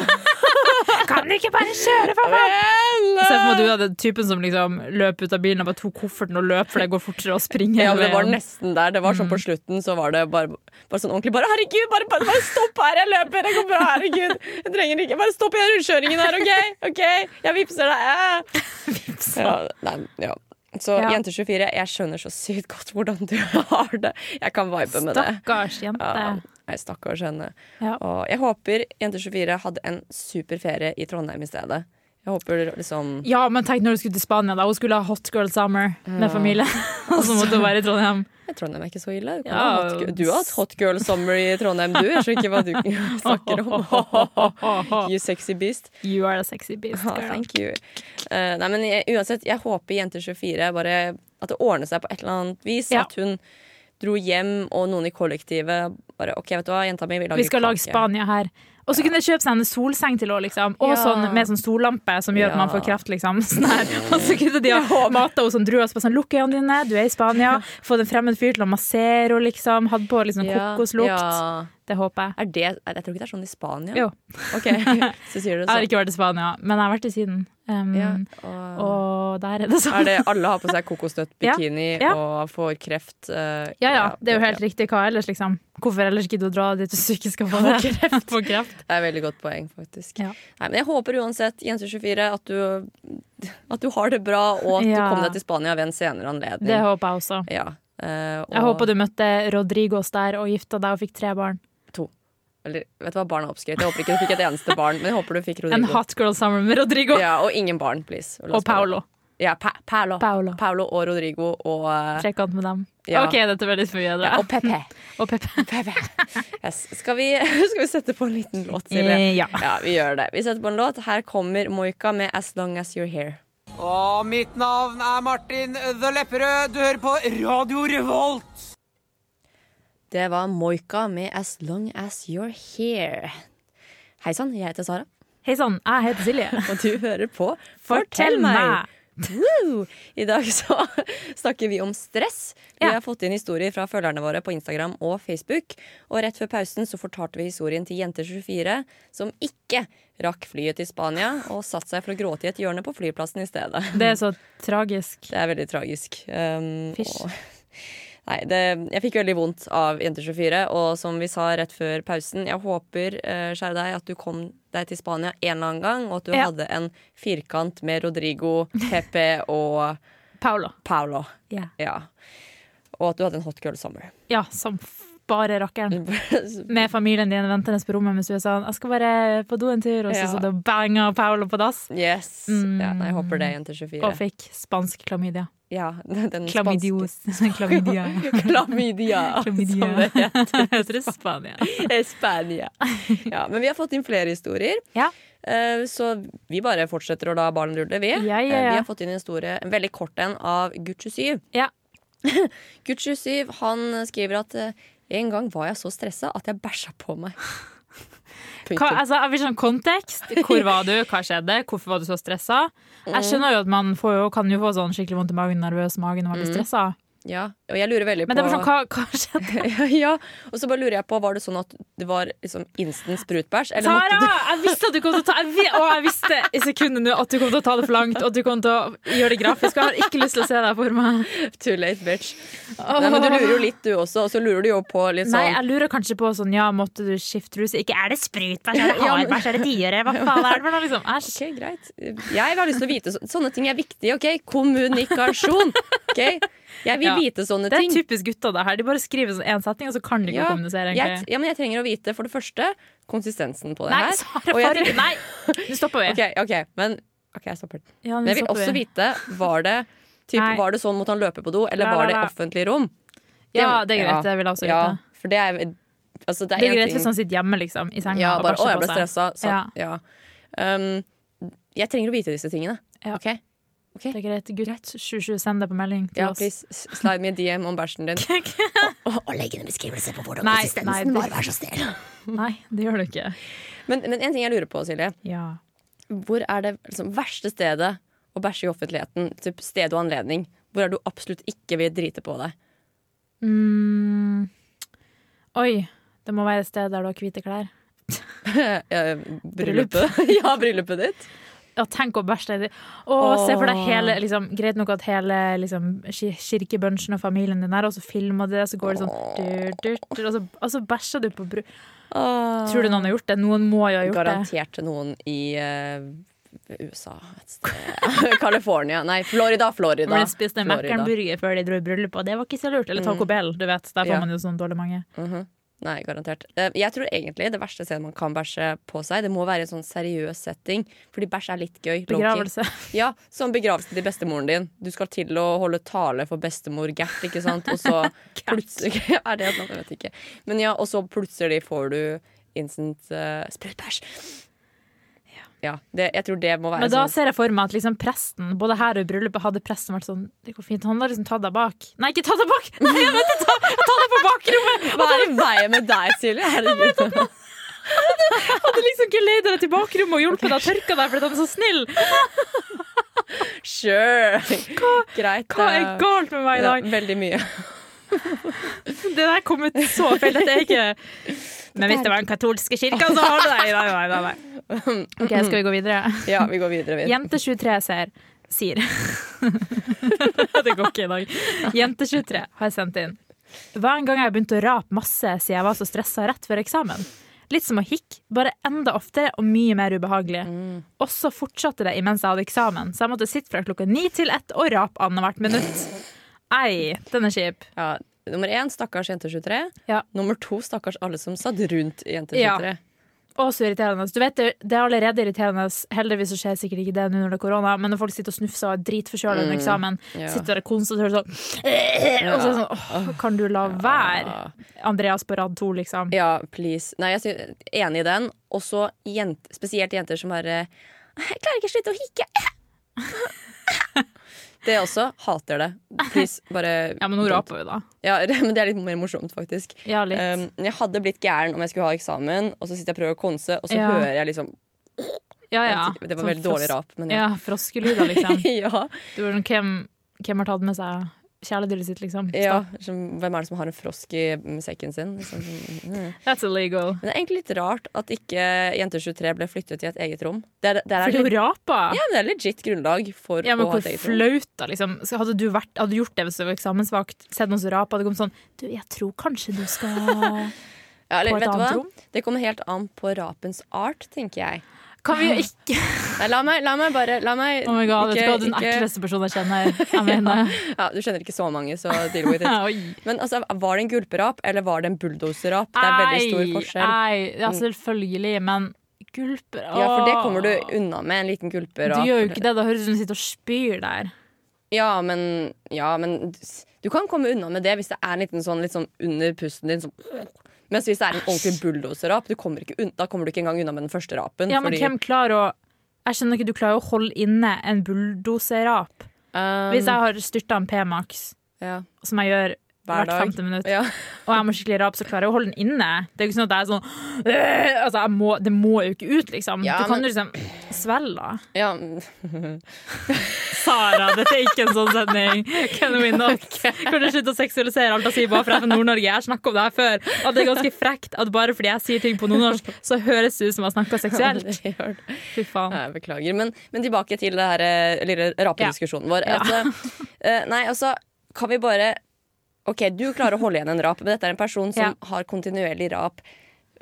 [SPEAKER 4] 'Kan du ikke bare kjøre for meg?' Se for meg at du er den typen som liksom løp ut av bilen og bare tok kofferten og løp, for det går fortere å springe.
[SPEAKER 1] Ja,
[SPEAKER 4] hele
[SPEAKER 1] det var
[SPEAKER 4] veien.
[SPEAKER 1] nesten der. Det var sånn på slutten, så var det bare, bare sånn ordentlig bare Herregud, bare, bare, bare stopp her! Jeg løper! Det går bra! Herregud! Jeg trenger ikke Bare stopp i den rundkjøringen her, OK? OK? Jeg vippser deg! Eh. Ja, nei, ja. Så
[SPEAKER 4] Ja.
[SPEAKER 1] jenter 24, jeg skjønner så sykt godt hvordan du har det. Jeg kan vibe med det.
[SPEAKER 4] Stakkars jente.
[SPEAKER 1] Ja, nei, stakkars henne.
[SPEAKER 4] Ja.
[SPEAKER 1] Og jeg håper Jenter24 hadde en super ferie i Trondheim i stedet. Jeg håper liksom
[SPEAKER 4] Ja, men tenk når du skulle til Spania. da Hun skulle ha hot girl summer med familie. Og så måtte hun være i Trondheim.
[SPEAKER 1] jeg, Trondheim er ikke så ille. Du, kan
[SPEAKER 4] Ja.
[SPEAKER 1] ha hot, girl- du har hatt hot girl summer i Trondheim, du. Jeg skjønner ikke hva du snakker om. You sexy beast.
[SPEAKER 4] You are a sexy beast,
[SPEAKER 1] Ah,
[SPEAKER 4] girl.
[SPEAKER 1] thank you. Eh, nei, men jeg, uansett, jeg håper Jenter24 bare At det ordner seg på et eller annet vis.
[SPEAKER 4] Ja.
[SPEAKER 1] At hun dro hjem, og noen i kollektivet bare OK, vet du hva, jenta mi, vi lager
[SPEAKER 4] Vi skal lage
[SPEAKER 1] kake."
[SPEAKER 4] Spania her. Og så kunne jeg kjøpe seg en solseng til henne, liksom. Og
[SPEAKER 1] Ja.
[SPEAKER 4] sånn med sånn sollampe som gjør at man
[SPEAKER 1] Ja.
[SPEAKER 4] får kraft, liksom. Sånn her. Og så kunne de ha mata henne som druer. Så bare sånn, Lukk øynene dine, du er i Spania. Fått en fremmed fyr til å massere henne, liksom. Hadde på liksom
[SPEAKER 1] Ja,
[SPEAKER 4] kokoslukt.
[SPEAKER 1] ja.
[SPEAKER 4] Det håper jeg.
[SPEAKER 1] Er det, jeg tror ikke det er sånn i Spania.
[SPEAKER 4] Jo.
[SPEAKER 1] Ok, så sier du
[SPEAKER 4] Jeg har
[SPEAKER 1] sånn.
[SPEAKER 4] ikke vært i Spania, men jeg har vært i Syden. Um,
[SPEAKER 1] Ja, og
[SPEAKER 4] Og der er det sånn.
[SPEAKER 1] er det alle har på seg kokosnøttbikini
[SPEAKER 4] Ja, ja.
[SPEAKER 1] og får kreft? eh,
[SPEAKER 4] Ja, ja, det er jo helt riktig. Hva ellers, liksom? Hvorfor ellers gidde å dra dit du syke skal få det? Få kreft.
[SPEAKER 1] Det er et veldig godt poeng, faktisk.
[SPEAKER 4] Ja.
[SPEAKER 1] Nei, men jeg håper uansett, Jente24, at du, at du har det bra, og at
[SPEAKER 4] Ja.
[SPEAKER 1] du kom deg til Spania ved en senere anledning.
[SPEAKER 4] Det håper jeg også.
[SPEAKER 1] ja. eh, og,
[SPEAKER 4] Jeg håper du møtte Rodrigos der og gifta deg og fikk tre barn.
[SPEAKER 1] Eller, vet du hva, barn er oppskrytt. Jeg håper ikke du fikk et eneste barn, men jeg håper du fikk
[SPEAKER 4] En
[SPEAKER 1] Rodrigo.
[SPEAKER 4] hot girl sammen med Rodrigo
[SPEAKER 1] Ja, og ingen barn, please. La oss
[SPEAKER 4] og
[SPEAKER 1] bare-
[SPEAKER 4] Paolo.
[SPEAKER 1] Ja, pa Paolo.
[SPEAKER 4] Paolo.
[SPEAKER 1] Paolo og Rodrigo og, eh,
[SPEAKER 4] Trekant med dem.
[SPEAKER 1] Ja.
[SPEAKER 4] OK, dette ble litt for
[SPEAKER 1] ja,
[SPEAKER 4] mye. da.
[SPEAKER 1] og Pepe.
[SPEAKER 4] Og Peppe.
[SPEAKER 1] Pepe. Yes. Skal, vi, skal vi sette på en liten låt, Silje?
[SPEAKER 4] Eh, ja.
[SPEAKER 1] Ja, vi gjør det. Vi setter på en låt. Her kommer Moika med 'As Long As You're Here'.
[SPEAKER 6] Og mitt navn er Martin The Lepperød. Du hører på Radio Revolt.
[SPEAKER 1] Det var Moika med 'As Long As You're Here'. Hei sann, jeg heter Sara,
[SPEAKER 4] Hei sann, jeg heter Silje.
[SPEAKER 1] og du hører på
[SPEAKER 4] Fortell meg!
[SPEAKER 1] Woo! I dag så snakker vi om stress. Vi
[SPEAKER 4] Ja.
[SPEAKER 1] har fått inn historier fra følgerne våre på Instagram og Facebook. Og rett før pausen så fortalte vi historien til Jenter24, som ikke rakk flyet til Spania og satte seg for å gråte i et hjørne på flyplassen i stedet.
[SPEAKER 4] Det er så tragisk.
[SPEAKER 1] Det er veldig tragisk. Um,
[SPEAKER 4] Fysj.
[SPEAKER 1] og- Nei, det, jeg fikk veldig vondt av Jenter24, og som vi sa rett før pausen, jeg håper, eh, kjære deg, at du kom deg til Spania en eller annen gang, og at du
[SPEAKER 4] Ja.
[SPEAKER 1] hadde en firkant med Rodrigo, Pepe og
[SPEAKER 4] Paolo.
[SPEAKER 1] Paolo.
[SPEAKER 4] Ja.
[SPEAKER 1] Ja. Og at du hadde en hot girl summer.
[SPEAKER 4] Ja, som f- bare rakkeren.
[SPEAKER 1] ja,
[SPEAKER 4] Med familien din ventende på rommet mens du er sånn 'Jeg skal bare på do en tur', og så
[SPEAKER 1] Ja.
[SPEAKER 4] så det banga Paolo på dass.
[SPEAKER 1] yes. Ja, nei, jeg håper
[SPEAKER 4] Mm.
[SPEAKER 1] det, Jenter24.
[SPEAKER 4] Og fikk spansk klamydia.
[SPEAKER 1] Ja, den spanske
[SPEAKER 4] Klamydios. Klamydia.
[SPEAKER 1] Klamydia.
[SPEAKER 4] Klamydia.
[SPEAKER 1] som det heter.
[SPEAKER 4] Heter det Spania?
[SPEAKER 1] Spania. Ja, men vi har fått inn flere historier.
[SPEAKER 4] Ja.
[SPEAKER 1] Eh, Så vi bare fortsetter å la ballen rulle, vi.
[SPEAKER 4] Ja, ja, ja.
[SPEAKER 1] Eh, Vi har fått inn en historie, en veldig kort en, av Gucci 7.
[SPEAKER 4] Ja.
[SPEAKER 1] Gucci 7 han skriver at eh, en gang var jeg så stressa at jeg bæsja på meg.
[SPEAKER 4] Hva,
[SPEAKER 1] Punktum.
[SPEAKER 4] altså, jeg vil sånn kontekst. Hvor var du? Hva skjedde? Hvorfor
[SPEAKER 1] Mm.
[SPEAKER 4] var du så stressa? Jeg skjønner jo at man får jo, kan jo få sånn skikkelig vondt i magen, nervøs mage når man blir stressa.
[SPEAKER 1] Ja, og jeg lurer veldig på
[SPEAKER 4] Men det var sånn, hva, hva skjedde?
[SPEAKER 1] ja, Og så bare lurer jeg på, var det sånn at det var liksom instant sprutbæsj? Eller
[SPEAKER 4] Tara!
[SPEAKER 1] måtte du
[SPEAKER 4] Jeg visste at du kom til å ta jeg, vi- Å, jeg visste i sekundet nå at du kom til å ta det for langt, og at du kom til å gjøre det grafisk. Jeg har ikke lyst til å se deg for meg.
[SPEAKER 1] Too late, bitch. Nei, men du lurer jo litt, du også. Og så lurer du jo på litt
[SPEAKER 4] Nei,
[SPEAKER 1] sånn
[SPEAKER 4] jeg lurer kanskje på sånn, ja, måtte du skifte rus? Ikke er det sprutbæsj, er det hardbæsj, er det diøre? Hva faen er det for noe, liksom? Æsj.
[SPEAKER 1] OK, greit. Jeg har lyst til å vite så, Sånne ting er viktig, OK? Kommunikasjon. OK? Jeg vil
[SPEAKER 4] Ja.
[SPEAKER 1] vite sånne
[SPEAKER 4] Det er
[SPEAKER 1] ting.
[SPEAKER 4] typisk gutta, det her. De bare skriver sånn én setning, og så kan de ikke
[SPEAKER 1] Ja,
[SPEAKER 4] kommunisere.
[SPEAKER 1] jeg,
[SPEAKER 4] egentlig.
[SPEAKER 1] ja, men jeg trenger å vite, for det første, konsistensen på det
[SPEAKER 4] Nei,
[SPEAKER 1] her.
[SPEAKER 4] Sara,
[SPEAKER 1] og jeg
[SPEAKER 4] farlig. Nei, nå stopper vi.
[SPEAKER 1] OK, ok, men OK, jeg stopper.
[SPEAKER 4] Ja, nå
[SPEAKER 1] Men jeg vil
[SPEAKER 4] Mm, stopper
[SPEAKER 1] også
[SPEAKER 4] vi.
[SPEAKER 1] vite, var det Typ,
[SPEAKER 4] Nei.
[SPEAKER 1] var det sånn måtte han løpe på do, eller
[SPEAKER 4] Nei,
[SPEAKER 1] var
[SPEAKER 4] nei,
[SPEAKER 1] det i
[SPEAKER 4] nei.
[SPEAKER 1] offentlig rom?
[SPEAKER 4] Ja, det er greit. Det vil jeg også
[SPEAKER 1] ja,
[SPEAKER 4] vite.
[SPEAKER 1] for det er altså, Det er,
[SPEAKER 4] Det er
[SPEAKER 1] en
[SPEAKER 4] greit
[SPEAKER 1] ting
[SPEAKER 4] hvis han sitter hjemme liksom, i senga
[SPEAKER 1] Ja,
[SPEAKER 4] og
[SPEAKER 1] bare 'Å,
[SPEAKER 4] bæsjer
[SPEAKER 1] jeg ble
[SPEAKER 4] på seg.
[SPEAKER 1] stressa'. Så,
[SPEAKER 4] Ja.
[SPEAKER 1] ja. Um, jeg trenger å vite disse tingene.
[SPEAKER 4] Ja.
[SPEAKER 1] OK?
[SPEAKER 4] Det er greit. Gutt 27, send det på melding til
[SPEAKER 1] Ja,
[SPEAKER 4] oss.
[SPEAKER 1] please, s- slide me a DM om bæsjen din. og, og legg inn en beskrivelse på hvordan
[SPEAKER 4] Nei, nei,
[SPEAKER 1] konsistensen
[SPEAKER 4] det-
[SPEAKER 1] var, vær så snill.
[SPEAKER 4] Nei, det gjør du ikke.
[SPEAKER 1] Men, men en ting jeg lurer på, Silje.
[SPEAKER 4] Ja.
[SPEAKER 1] Hvor er det liksom, verste stedet å bæsje i offentligheten? Typ sted og anledning. Hvor er du absolutt ikke vil drite på deg?
[SPEAKER 4] Mm. Oi, det må være et sted der du har hvite klær.
[SPEAKER 1] Eh, Bryllupet? ja, bryllupet ditt.
[SPEAKER 4] Ja, tenk å bæsje deg i Å, se for deg hele liksom, Greit nok at hele liksom, ki- kirkebunsjen og familien din er, og så filmer du det, så går det sånn dur, dur, dur, Og så, og så bæsjer du på bru... Tror du noen har gjort det? Noen må jo ha gjort det.
[SPEAKER 1] Garantert noen i eh, USA et sted. California. Nei, Florida, Florida.
[SPEAKER 4] Når de spiste
[SPEAKER 1] Florida.
[SPEAKER 4] Mækkern-burger før de dro i bryllup, og det var ikke så lurt. Eller Taco Bell, du vet. Der
[SPEAKER 1] Mm.
[SPEAKER 4] får
[SPEAKER 1] Ja.
[SPEAKER 4] man jo sånn dårlig mange.
[SPEAKER 1] Mhm. Nei, garantert. Eh, Jeg tror egentlig det verste stedet man kan bæsje på seg, det må være i en sånn seriøs setting. Fordi bæsj er litt gøy. low-key.
[SPEAKER 4] Begravelse.
[SPEAKER 1] Ja, Som begravelse til bestemoren din. Du skal til å holde tale for bestemor Gert, ikke sant. Og så plutselig Er det et navn? Jeg vet ikke. Men ja, og så plutselig får du instant uh, sprutbæsj. Ja. det, jeg tror det må være
[SPEAKER 4] Men da
[SPEAKER 1] sånn.
[SPEAKER 4] ser jeg for meg at liksom presten, både her og i bryllupet, hadde presten vært sånn Det går fint. Han har liksom tatt deg bak. Nei, ikke tatt deg bak! Nei, jeg mente ta, ta deg på bakrommet!
[SPEAKER 1] Hva er i veien med deg, Silje? Herregud.
[SPEAKER 4] Hadde liksom ikke leid deg til bakrommet og hjulpet deg å tørke deg fordi han er så snill.
[SPEAKER 1] Sure. Greit.
[SPEAKER 4] Hva er
[SPEAKER 1] eh,
[SPEAKER 4] galt med meg i
[SPEAKER 1] ja,
[SPEAKER 4] dag?
[SPEAKER 1] Veldig mye.
[SPEAKER 4] Det der kom ut så feil. Dette er ikke Men hvis det var den katolske kirka, så har du deg Nei, nei, nei. nei. OK, skal vi gå videre?
[SPEAKER 1] Ja, vi går videre. Vi.
[SPEAKER 4] Jente 23 ser, sier Det går ikke i dag. Jente 23 har jeg sendt inn. Hva en gang jeg begynte å rape masse siden jeg var så stressa rett før eksamen. Litt som å hikke, bare enda oftere og mye mer ubehagelig. Og så fortsatte det imens jeg hadde eksamen, så jeg måtte sitte fra klokka ni til ett og rape annethvert minutt. Ei, den er kjip.
[SPEAKER 1] Ja, nummer én, stakkars jente 23.
[SPEAKER 4] Ja.
[SPEAKER 1] Nummer to, stakkars alle som satt rundt jente 23.
[SPEAKER 4] Ja. Og så irriterende. Du vet, det- det er allerede irriterende. Heldigvis så skjer sikkert ikke det nå når det er korona, men når folk sitter og snufser og er dritforkjøla under eksamen,
[SPEAKER 1] Mm, ja.
[SPEAKER 4] sitter der konstant og hører sånn Og så er det sånn åh, Kan du la være? Andreas på rad to, liksom.
[SPEAKER 1] Ja, please. Nei, jeg sy- enig i den. Og så jent- spesielt jenter som bare Jeg klarer ikke å slutte å hikke. Det også. Hater det. Please, bare
[SPEAKER 4] Ja, men hun raper jo, da.
[SPEAKER 1] Ja, men det er litt mer morsomt, faktisk.
[SPEAKER 4] Ja, litt.
[SPEAKER 1] Um, jeg hadde blitt gæren om jeg skulle ha eksamen, og så sitter jeg og prøver å konse, og så
[SPEAKER 4] Ja.
[SPEAKER 1] hører jeg liksom
[SPEAKER 4] ja, ja.
[SPEAKER 1] Det var
[SPEAKER 4] Sånn
[SPEAKER 1] veldig dårlig
[SPEAKER 4] fros-
[SPEAKER 1] rap, men ja.
[SPEAKER 4] Ja, froskelyder, liksom.
[SPEAKER 1] ja.
[SPEAKER 4] Du, er sånn, hvem, hvem har tatt med seg kjæledyret sitt, liksom?
[SPEAKER 1] Ja, som, hvem er det som har en frosk i mm, sekken sin? Liksom. Mm.
[SPEAKER 4] That's illegal.
[SPEAKER 1] Men det er egentlig litt rart at ikke Jenter 23 ble flyttet til et eget rom. Det er, det er,
[SPEAKER 4] Fordi hun raper.
[SPEAKER 1] ja, men det er legit grunnlag for
[SPEAKER 4] Ja, men
[SPEAKER 1] å
[SPEAKER 4] hvor
[SPEAKER 1] ha et eget rom.
[SPEAKER 4] flaut, da, liksom. Så Hadde du, vært, hadde du gjort det hvis du var eksamensvakt, sett noen som raper, hadde kommet sånn Du, jeg tror kanskje du skal
[SPEAKER 1] Ja, eller,
[SPEAKER 4] på et
[SPEAKER 1] vet du
[SPEAKER 4] annet
[SPEAKER 1] hva?
[SPEAKER 4] rom?
[SPEAKER 1] Det kommer helt an på rapens art, tenker jeg.
[SPEAKER 4] Kan vi ikke
[SPEAKER 1] Nei, la meg, la meg bare la meg,
[SPEAKER 4] Oh my god, vet du hva,
[SPEAKER 1] ikke-
[SPEAKER 4] du er den
[SPEAKER 1] ikke-
[SPEAKER 4] ekleste personen jeg kjenner. Jeg mener.
[SPEAKER 1] ja, Du kjenner ikke så mange, så deal with it.
[SPEAKER 4] Oi.
[SPEAKER 1] Men altså, var det en gulperap, eller var det en bulldoserap? Det er veldig stor
[SPEAKER 4] Ei,
[SPEAKER 1] forskjell.
[SPEAKER 4] ei, ja, selvfølgelig, men gulper
[SPEAKER 1] Ja, for det kommer du
[SPEAKER 4] åh.
[SPEAKER 1] unna med, en liten
[SPEAKER 4] Du
[SPEAKER 1] gulperap.
[SPEAKER 4] gjør jo ikke det. Da høres det ut som du sitter og spyr der.
[SPEAKER 1] Ja, men, ja, men du- du kan komme unna med det hvis det er en liten sånn litt sånn under pusten din. Sånn, mens hvis det er en ordentlig bulldoserrap, du kommer ikke unn- da kommer du ikke engang unna med den første rapen.
[SPEAKER 4] Ja, men
[SPEAKER 1] fordi,
[SPEAKER 4] hvem klarer å Jeg skjønner ikke, du klarer å holde inne en bulldoserap.
[SPEAKER 1] um,
[SPEAKER 4] Hvis jeg har styrta en P-Max,
[SPEAKER 1] ja,
[SPEAKER 4] som jeg gjør
[SPEAKER 1] hver
[SPEAKER 4] hvert
[SPEAKER 1] dag.
[SPEAKER 4] 50 minutt,
[SPEAKER 1] Ja.
[SPEAKER 4] og jeg må skikkelig rap, så klarer jeg å holde den inne. Det er jo ikke sånn at jeg er sånn «Øh», altså, jeg må, Det må jo ikke ut, liksom.
[SPEAKER 1] Ja,
[SPEAKER 4] du kan
[SPEAKER 1] men-
[SPEAKER 4] jo liksom svelge, da.
[SPEAKER 1] ja.
[SPEAKER 4] Sara, dette er ikke en sånn sending. Can we not? Kan du slutte å seksualisere alt jeg sier bare fordi jeg er fra Nord-Norge? Jeg har snakket om det her før. At det er ganske frekt at bare fordi jeg sier ting på nordnorsk, så høres det ut som jeg snakker seksuelt.
[SPEAKER 1] Aldri hørt.
[SPEAKER 4] Fy faen.
[SPEAKER 1] Nei, beklager. Men, men tilbake til det her eh, lille rapediskusjonen vår.
[SPEAKER 4] Ja.
[SPEAKER 1] At, eh, nei, altså, kan vi bare OK, du klarer å holde igjen en rap, men dette er en person som
[SPEAKER 4] Ja.
[SPEAKER 1] har kontinuerlig rap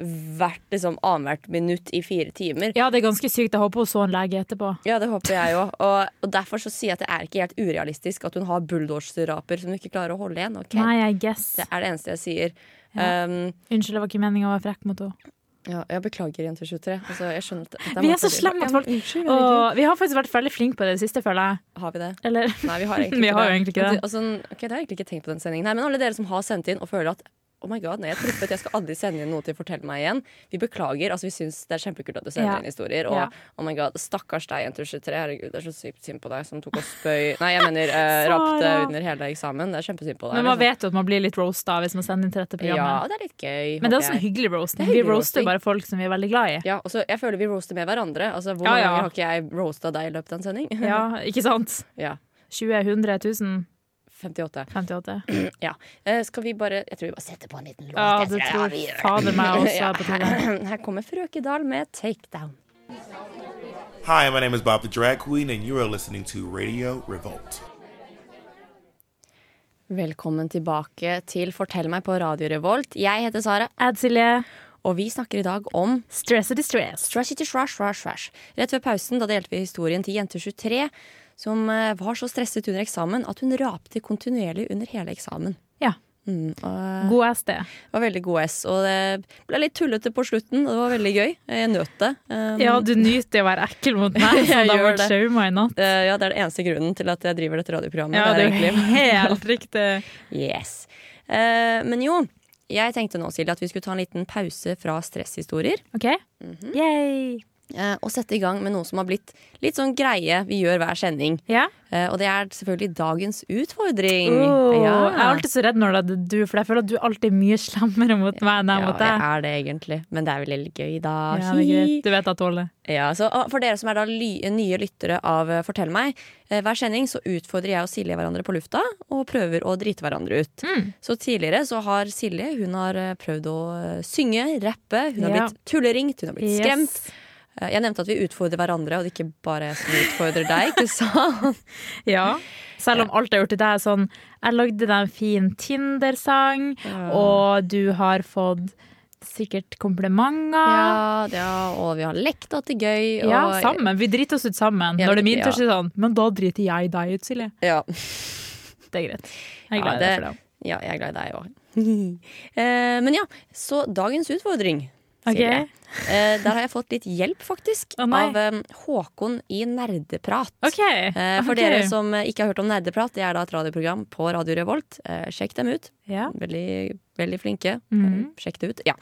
[SPEAKER 1] hvert liksom, annethvert minutt i fire timer.
[SPEAKER 4] Ja, det er ganske sykt. Jeg håper hun så en lege etterpå.
[SPEAKER 1] Ja, det håper jeg òg. Og, og derfor så sier jeg at det er ikke helt urealistisk at hun har bulldogs-raper som hun ikke klarer å holde igjen. ok?
[SPEAKER 4] Nei, I guess.
[SPEAKER 1] Det er det eneste jeg sier.
[SPEAKER 4] Ja.
[SPEAKER 1] Um,
[SPEAKER 4] Unnskyld, det var ikke meninga å være frekk mot henne.
[SPEAKER 1] ja, jeg beklager, jenter23. Altså, jeg skjønner at det
[SPEAKER 4] Vi er så
[SPEAKER 1] masse-
[SPEAKER 4] slemme at folk-
[SPEAKER 1] Unnskyld, herregud.
[SPEAKER 4] Og vi har faktisk vært veldig flinke på det i det siste, føler jeg.
[SPEAKER 1] Har vi det?
[SPEAKER 4] Eller
[SPEAKER 1] Nei, vi har egentlig
[SPEAKER 4] Vi
[SPEAKER 1] ikke
[SPEAKER 4] har
[SPEAKER 1] det.
[SPEAKER 4] jo egentlig ikke det.
[SPEAKER 1] Men du, altså, ok, det har jeg egentlig ikke tenkt på den sendingen her. Men alle dere som har sendt inn og føler at Oh my god, nei, jeg truffet, jeg skal aldri sende inn noe til Fortell meg igjen. Vi beklager. altså Vi syns det er kjempekult at du sender
[SPEAKER 4] Ja.
[SPEAKER 1] inn historier. Og
[SPEAKER 4] Ja.
[SPEAKER 1] oh my god, stakkars deg, jenter 23. Herregud, det er så sykt synd på deg som tok og spøy Nei, jeg mener eh, rapte
[SPEAKER 4] Sara.
[SPEAKER 1] under hele eksamen. Det er kjempesynd på deg.
[SPEAKER 4] Men man
[SPEAKER 1] liksom.
[SPEAKER 4] vet jo at man blir litt roasta hvis man sender inn til dette
[SPEAKER 1] Ja,
[SPEAKER 4] programmet.
[SPEAKER 1] det er litt gøy.
[SPEAKER 4] Men det er
[SPEAKER 1] håper
[SPEAKER 4] også en
[SPEAKER 1] jeg.
[SPEAKER 4] hyggelig roasting.
[SPEAKER 1] Det er
[SPEAKER 4] Vi
[SPEAKER 1] hyggelig
[SPEAKER 4] roaster
[SPEAKER 1] roasting.
[SPEAKER 4] jo bare folk som vi er veldig glad i.
[SPEAKER 1] ja, og så Jeg føler vi roaster med hverandre. Altså, Hvor
[SPEAKER 4] Ja,
[SPEAKER 1] mange
[SPEAKER 4] ja.
[SPEAKER 1] ganger har ikke jeg roasta deg i løpet av en sending?
[SPEAKER 4] Ja, ikke sant?
[SPEAKER 1] ja.
[SPEAKER 4] 20, 100, 1000,
[SPEAKER 1] 58.
[SPEAKER 4] 58.
[SPEAKER 1] Eh, skal vi bare Jeg tror vi bare setter på en liten låt.
[SPEAKER 4] Ja,
[SPEAKER 1] jeg
[SPEAKER 4] det
[SPEAKER 1] tror-
[SPEAKER 4] tror
[SPEAKER 1] vi gjør det.
[SPEAKER 4] fader meg også
[SPEAKER 1] Ja.
[SPEAKER 4] er på tide.
[SPEAKER 1] Her kommer Frøkedal med 'Take Down'.
[SPEAKER 7] Hi, my name is Bob the Drag Queen, and you are listening to Radio Revolt.
[SPEAKER 1] Velkommen tilbake til Fortell meg på Radio Revolt. Jeg heter Sara,
[SPEAKER 4] Ad Silje.
[SPEAKER 1] og vi snakker i dag om
[SPEAKER 4] Stress og distress.
[SPEAKER 1] Strashy to Strash, Strash, Strash. Rett før pausen da delte vi historien til jente 23 som eh, var så stresset under eksamen at hun rapte kontinuerlig under hele eksamen.
[SPEAKER 4] Ja.
[SPEAKER 1] Mm, og
[SPEAKER 4] God SD.
[SPEAKER 1] det var veldig god S, og det ble litt tullete på slutten. og Det var veldig gøy. Jeg nøt det. Um,
[SPEAKER 4] Ja, du nyter å være ekkel mot meg, som
[SPEAKER 1] Jeg
[SPEAKER 4] det har
[SPEAKER 1] gjør
[SPEAKER 4] vært
[SPEAKER 1] det.
[SPEAKER 4] trauma i natt.
[SPEAKER 1] eh, ja, det er den eneste grunnen til at jeg driver dette radioprogrammet.
[SPEAKER 4] Ja, det
[SPEAKER 1] er
[SPEAKER 4] er jo
[SPEAKER 1] egentlig-
[SPEAKER 4] helt riktig.
[SPEAKER 1] Yes. Eh, men jo, jeg tenkte nå, Silje, at vi skulle ta en liten pause fra stresshistorier.
[SPEAKER 4] OK?
[SPEAKER 1] Mhm.
[SPEAKER 4] Yay.
[SPEAKER 1] eh, og sette i gang med noe som har blitt litt sånn greie vi gjør hver sending.
[SPEAKER 4] Ja?
[SPEAKER 1] Eh, og det er selvfølgelig dagens utfordring.
[SPEAKER 4] Oh,
[SPEAKER 1] Ja.
[SPEAKER 4] Jeg er alltid så redd når det er du, for jeg føler at du alltid er mye slemmere mot meg enn jeg er
[SPEAKER 1] ja,
[SPEAKER 4] mot
[SPEAKER 1] jeg
[SPEAKER 4] deg.
[SPEAKER 1] er det egentlig, men det er veldig litt gøy, da.
[SPEAKER 4] Ja, det er greit. Du vet jeg tåler.
[SPEAKER 1] Ja, så ah, For dere som er da ly nye lyttere av eh, Fortell meg, eh, hver sending så utfordrer jeg og Silje hverandre på lufta og prøver å drite hverandre ut. Så tidligere så har Silje hun har eh, prøvd å eh, synge, rappe, hun har
[SPEAKER 4] Ja.
[SPEAKER 1] blitt tulleringt, hun har blitt
[SPEAKER 4] Yes.
[SPEAKER 1] skremt. Eh, Jeg nevnte at vi utfordrer hverandre, og det er ikke bare jeg som utfordrer deg. ikke sant?
[SPEAKER 4] Ja. Selv om alt jeg har gjort til deg er sånn Jeg lagde deg en fin Tinder-sang, og du har fått sikkert komplimenter.
[SPEAKER 1] Ja, ja, og vi har lekt og hatt det gøy.
[SPEAKER 4] Ja,
[SPEAKER 1] Og,
[SPEAKER 4] sammen. Vi driter oss ut sammen.
[SPEAKER 1] Jeg
[SPEAKER 4] Når
[SPEAKER 1] vet-
[SPEAKER 4] det er min
[SPEAKER 1] ja.
[SPEAKER 4] tur, så er det sånn Men da driter jeg deg ut, Silje.
[SPEAKER 1] Ja.
[SPEAKER 4] Det er greit. Jeg er
[SPEAKER 1] Ja,
[SPEAKER 4] glad i deg
[SPEAKER 1] det-
[SPEAKER 4] for det.
[SPEAKER 1] Ja, jeg er glad i deg òg. men ja, så dagens utfordring.
[SPEAKER 4] Ok.
[SPEAKER 1] Silje. Eh, der har jeg fått litt hjelp, faktisk,
[SPEAKER 4] Å, nei.
[SPEAKER 1] av eh, Håkon i Nerdeprat.
[SPEAKER 4] OK.
[SPEAKER 1] Eh, for
[SPEAKER 4] ok.
[SPEAKER 1] dere som eh, ikke har hørt om Nerdeprat, det er da et radioprogram på Radio Revolt. Eh, sjekk dem ut.
[SPEAKER 4] ja.
[SPEAKER 1] Veldig, veldig flinke.
[SPEAKER 4] Mhm.
[SPEAKER 1] Eh, Sjekk det ut. Ja.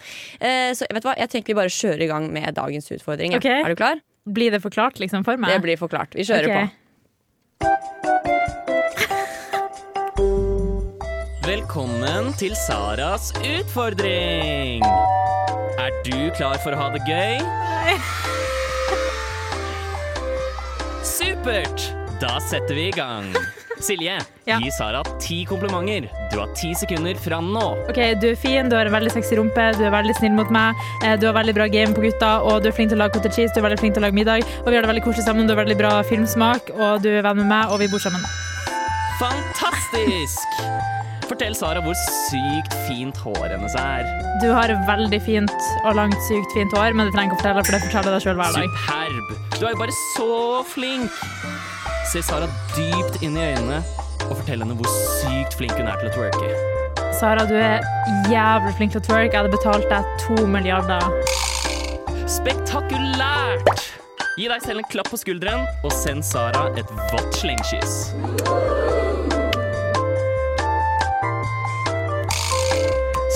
[SPEAKER 1] Eh, så vet du hva, jeg tenker vi bare kjører i gang med dagens utfordring. ja.
[SPEAKER 4] Ok.
[SPEAKER 1] Er du klar?
[SPEAKER 4] Blir det forklart liksom for meg?
[SPEAKER 1] Det blir forklart. Vi kjører
[SPEAKER 4] Ok.
[SPEAKER 1] på.
[SPEAKER 8] Velkommen til Saras utfordring. Er du klar for å ha det gøy? Supert! Da setter vi i gang. Silje,
[SPEAKER 4] Ja.
[SPEAKER 8] gi Sara ti komplimenter. Du har ti sekunder fra nå.
[SPEAKER 4] OK, du er fin, du har en veldig sexy rumpe, du er veldig snill mot meg, eh, du har veldig bra game på gutta, og du er flink til å lage cottage cheese, du er veldig flink til å lage middag, og vi har det veldig koselig sammen, du har veldig bra filmsmak, og du er venn med meg, og vi bor sammen.
[SPEAKER 8] Fantastisk! Fortell Sara hvor sykt fint håret hennes er.
[SPEAKER 4] Du har veldig fint og langt sykt fint hår, men det trenger jeg ikke å fortelle, for det forteller jeg deg sjøl hver dag.
[SPEAKER 8] Superb. Du er jo bare så flink. Se Sara dypt inn i øynene og fortell henne hvor sykt flink hun er til å twerke.
[SPEAKER 4] Sara, du er jævlig flink til å twerk. Jeg hadde betalt deg to milliarder.
[SPEAKER 8] Spektakulært! Gi deg selv en klapp på skulderen og send Sara et vått slengkyss.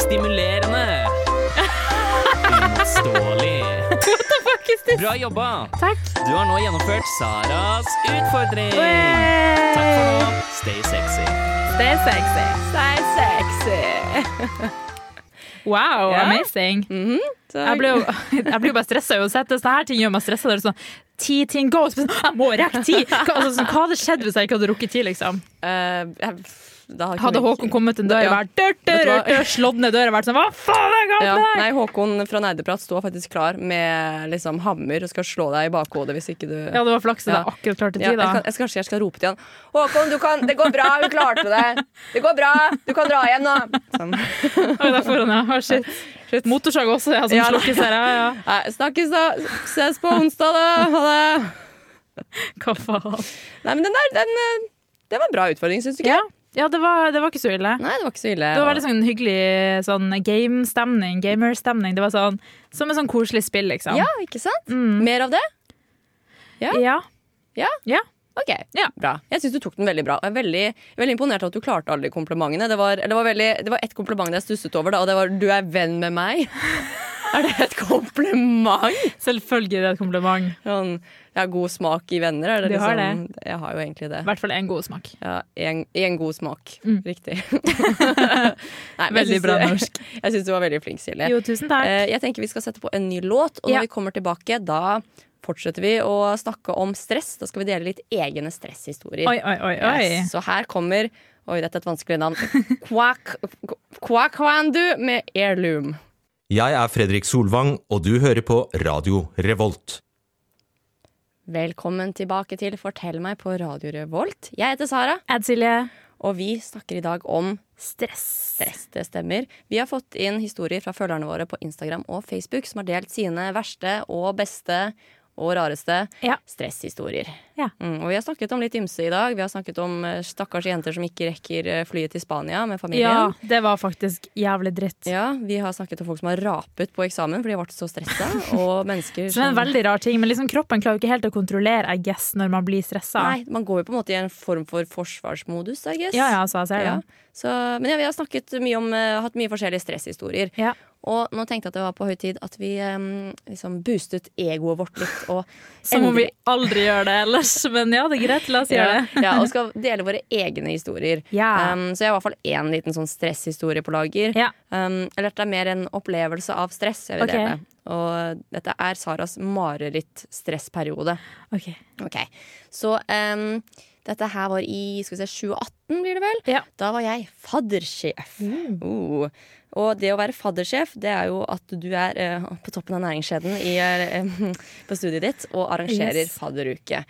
[SPEAKER 8] Stimulerende. Uimotståelig. Bra jobba.
[SPEAKER 4] Takk.
[SPEAKER 8] Du har nå gjennomført Saras utfordring. Takk for nå. Stay sexy.
[SPEAKER 4] Det er sexy.
[SPEAKER 1] Det er sexy.
[SPEAKER 4] Wow,
[SPEAKER 1] Ja.
[SPEAKER 4] amazing. Jeg blir jo, jeg blir jo bare stressa uansett. Det er Sånne her ting gjør meg stressa. Det er Sånn, ti ting go! Så blir jeg sånn, Jeg må rekke ti! Hva, altså, sånn, hva hadde skjedd hvis jeg ikke hadde rukket ti? liksom?
[SPEAKER 1] Eh, jeg- da har ikke
[SPEAKER 4] Hadde
[SPEAKER 1] vi-
[SPEAKER 4] Håkon kommet en dør og
[SPEAKER 1] Ja.
[SPEAKER 4] vært dør,
[SPEAKER 1] Vet
[SPEAKER 4] dør,
[SPEAKER 1] du hva?
[SPEAKER 4] dør, slått ned døra og vært sånn Hva faen er galt
[SPEAKER 1] ja.
[SPEAKER 4] med deg?!
[SPEAKER 1] Nei, Håkon fra Nerdeprat står faktisk klar med liksom, hammer og skal slå deg i bakhodet hvis ikke du
[SPEAKER 4] Ja, det var flaks at
[SPEAKER 1] Ja.
[SPEAKER 4] jeg akkurat klarte
[SPEAKER 1] Ja,
[SPEAKER 4] ti,
[SPEAKER 1] jeg,
[SPEAKER 4] da.
[SPEAKER 1] kan, jeg, skal, kanskje jeg skal rope til han Håkon, du kan, det går bra, hun klarte det Det går bra, du kan dra hjem nå sånn.
[SPEAKER 4] Oi, der foran, ja. Å, shit. Motorsag også, ja, som
[SPEAKER 1] Ja, da.
[SPEAKER 4] slukkes her. Ja, ja.
[SPEAKER 1] Nei, Snakkes da, ses på onsdag da Ha det
[SPEAKER 4] Hva faen?
[SPEAKER 1] Nei, men den der, den, eh, det var en bra utfordring, synes du ikke?
[SPEAKER 4] Ja, ja det, var, det var ikke så ille.
[SPEAKER 1] Nei, det var ikke så ille
[SPEAKER 4] Det var veldig sånn hyggelig sånn game-stemning. Gamer-stemning. Det var sånn som en sånn koselig spill, liksom.
[SPEAKER 1] Ja, ikke sant?
[SPEAKER 4] Mm.
[SPEAKER 1] Mer av det? ja.
[SPEAKER 4] ja.
[SPEAKER 1] Ja?
[SPEAKER 4] Ja.
[SPEAKER 1] Ok,
[SPEAKER 4] Ja.
[SPEAKER 1] bra. Jeg synes du tok den veldig bra. Jeg er veldig, veldig imponert over at du klarte alle de komplimentene. Det var, eller det var, veldig, det var ett kompliment jeg stusset over, da, og det var 'du er venn med meg'. Er det et kompliment?
[SPEAKER 4] Selvfølgelig er det et kompliment.
[SPEAKER 1] Sånn, jeg har god smak i venner. Er det
[SPEAKER 4] Du har
[SPEAKER 1] liksom, Jeg har jo egentlig
[SPEAKER 4] I
[SPEAKER 1] det.
[SPEAKER 4] hvert fall en god smak.
[SPEAKER 1] Ja, en, en god smak. Riktig. Nei, men jeg synes
[SPEAKER 4] Mm. Veldig bra
[SPEAKER 1] du-
[SPEAKER 4] norsk.
[SPEAKER 1] Jeg syns du var veldig flink, Silje.
[SPEAKER 4] Jo, tusen takk.
[SPEAKER 1] Eh, Jeg tenker vi skal sette på en ny låt, og når
[SPEAKER 4] Ja.
[SPEAKER 1] vi kommer tilbake, da fortsetter vi å snakke om stress. Da skal vi dele litt egne stresshistorier.
[SPEAKER 4] Oi, oi, oi. oi.
[SPEAKER 1] Yes, Så her kommer Oi, dette er et vanskelig navn. Quack- Kwakwandu med Heirloom.
[SPEAKER 9] Jeg er Fredrik Solvang, og du hører på Radio Revolt.
[SPEAKER 1] Velkommen tilbake til Fortell meg på Radio Revolt. Jeg heter Sara,
[SPEAKER 4] Ed Silje.
[SPEAKER 1] og vi snakker i dag om
[SPEAKER 4] Stress.
[SPEAKER 1] stress. Det stemmer. Vi har fått inn historier fra følgerne våre på Instagram og Facebook som har delt sine verste og beste og rareste
[SPEAKER 4] Ja.
[SPEAKER 1] stresshistorier.
[SPEAKER 4] Ja.
[SPEAKER 1] Mm, og vi har snakket om litt ymse i dag. Vi har snakket om eh, stakkars jenter som ikke rekker eh, flyet til Spania med familien.
[SPEAKER 4] Ja, det var faktisk jævlig dritt.
[SPEAKER 1] Ja, Vi har snakket om folk som har rapet på eksamen fordi de har vært så stressa. Og mennesker
[SPEAKER 4] Som er en veldig rar ting, men liksom kroppen klarer jo ikke helt å kontrollere I guess, når man blir stressa.
[SPEAKER 1] Nei, Man går jo på en måte i en form for forsvarsmodus, I guess.
[SPEAKER 4] Ja, ja, så jeg ser
[SPEAKER 1] Ja.
[SPEAKER 4] det.
[SPEAKER 1] Så, men ja, vi har snakket mye om eh, hatt mye forskjellige stresshistorier.
[SPEAKER 4] Ja.
[SPEAKER 1] Og nå tenkte jeg at det var på høy tid at vi eh, liksom boostet egoet vårt litt. Og
[SPEAKER 4] Som om vi
[SPEAKER 1] endelig-
[SPEAKER 4] aldri gjør det ellers, men ja, det er greit. La oss gjøre
[SPEAKER 1] ja,
[SPEAKER 4] det.
[SPEAKER 1] ja, og skal dele våre egne historier.
[SPEAKER 4] Ja.
[SPEAKER 1] Um, så jeg har i hvert fall én liten sånn stresshistorie på lager.
[SPEAKER 4] Ja.
[SPEAKER 1] Um, eller dette er mer en opplevelse av stress. Jeg vil
[SPEAKER 4] Ok.
[SPEAKER 1] dele. Og dette er Saras mareritt-stressperiode.
[SPEAKER 4] Ok.
[SPEAKER 1] Ok, Så um, dette her var i skal vi se, 2018, blir det vel?
[SPEAKER 4] Ja. Mm.
[SPEAKER 1] Da var jeg faddersjef. Oh. Og det å være faddersjef, det er jo at du er eh, på toppen av næringskjeden i, eh, på studiet ditt og arrangerer
[SPEAKER 4] Yes.
[SPEAKER 1] fadderuke.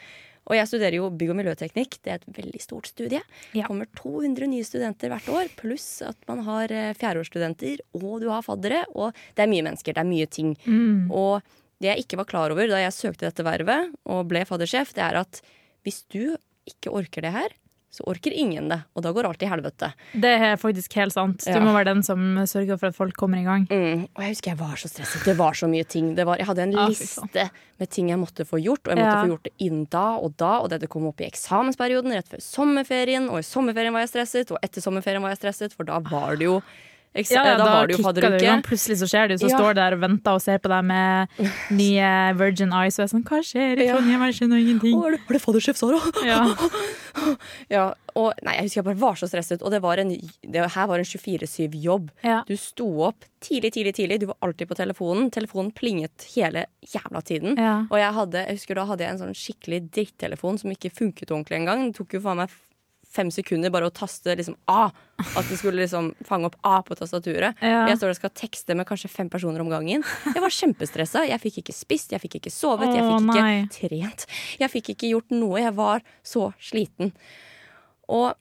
[SPEAKER 1] Og jeg studerer jo bygg- og miljøteknikk. Det er et veldig stort studie.
[SPEAKER 4] Ja.
[SPEAKER 1] Det kommer 200 nye studenter hvert år, pluss at man har eh, fjerdeårsstudenter, og du har faddere. Og det er mye mennesker, det er mye ting.
[SPEAKER 4] Mm.
[SPEAKER 1] Og det jeg ikke var klar over da jeg søkte dette vervet og ble faddersjef, det er at hvis du ikke orker det her, så orker ingen det, og da går alt i helvete.
[SPEAKER 4] Det er faktisk helt sant. Du
[SPEAKER 1] Ja.
[SPEAKER 4] må være den som sørger for at folk kommer i gang.
[SPEAKER 1] Mm. Og jeg husker jeg var så stresset. Det var så mye ting. Det var, jeg hadde en
[SPEAKER 4] Ah, fy faen.
[SPEAKER 1] liste med ting jeg måtte få gjort, og jeg måtte
[SPEAKER 4] Ja.
[SPEAKER 1] få gjort det innen da og da. Og dette kom opp i eksamensperioden rett før sommerferien, og i sommerferien var jeg stresset, og etter sommerferien var jeg stresset, for da var det jo eksa-
[SPEAKER 4] Ja, ja,
[SPEAKER 1] da,
[SPEAKER 4] eh, da,
[SPEAKER 1] var det jo
[SPEAKER 4] kicker det i
[SPEAKER 1] fadderuke.
[SPEAKER 4] gang. Plutselig så skjer det, jo, så
[SPEAKER 1] Ja.
[SPEAKER 4] står du der og venter og ser på deg med nye Virgin Eyes og er sånn Hva skjer i Trondheim? Jeg skjønner
[SPEAKER 1] Å,
[SPEAKER 4] ingenting.
[SPEAKER 1] er det, er det faddersjef Sara?
[SPEAKER 4] Ja.
[SPEAKER 1] Ja, og nei, jeg husker jeg bare var så stresset. Og det var en, det her var en 24-7-jobb.
[SPEAKER 4] Ja.
[SPEAKER 1] Du sto opp tidlig, tidlig, tidlig. Du var alltid på telefonen. Telefonen plinget hele jævla tiden.
[SPEAKER 4] Ja.
[SPEAKER 1] Og jeg, hadde, jeg husker da hadde jeg en sånn skikkelig drittelefon som ikke funket ordentlig engang. Det tok jo faen meg f- fem sekunder bare å taste liksom A. At det skulle liksom fange opp A på tastaturet.
[SPEAKER 4] Ja.
[SPEAKER 1] Jeg står og skal tekste med kanskje fem personer om gangen. Jeg var kjempestressa. Jeg fikk ikke spist, jeg fikk ikke sovet, jeg
[SPEAKER 4] Å,
[SPEAKER 1] fikk ikke
[SPEAKER 4] nei.
[SPEAKER 1] trent. Jeg fikk ikke gjort noe. Jeg var så sliten. Og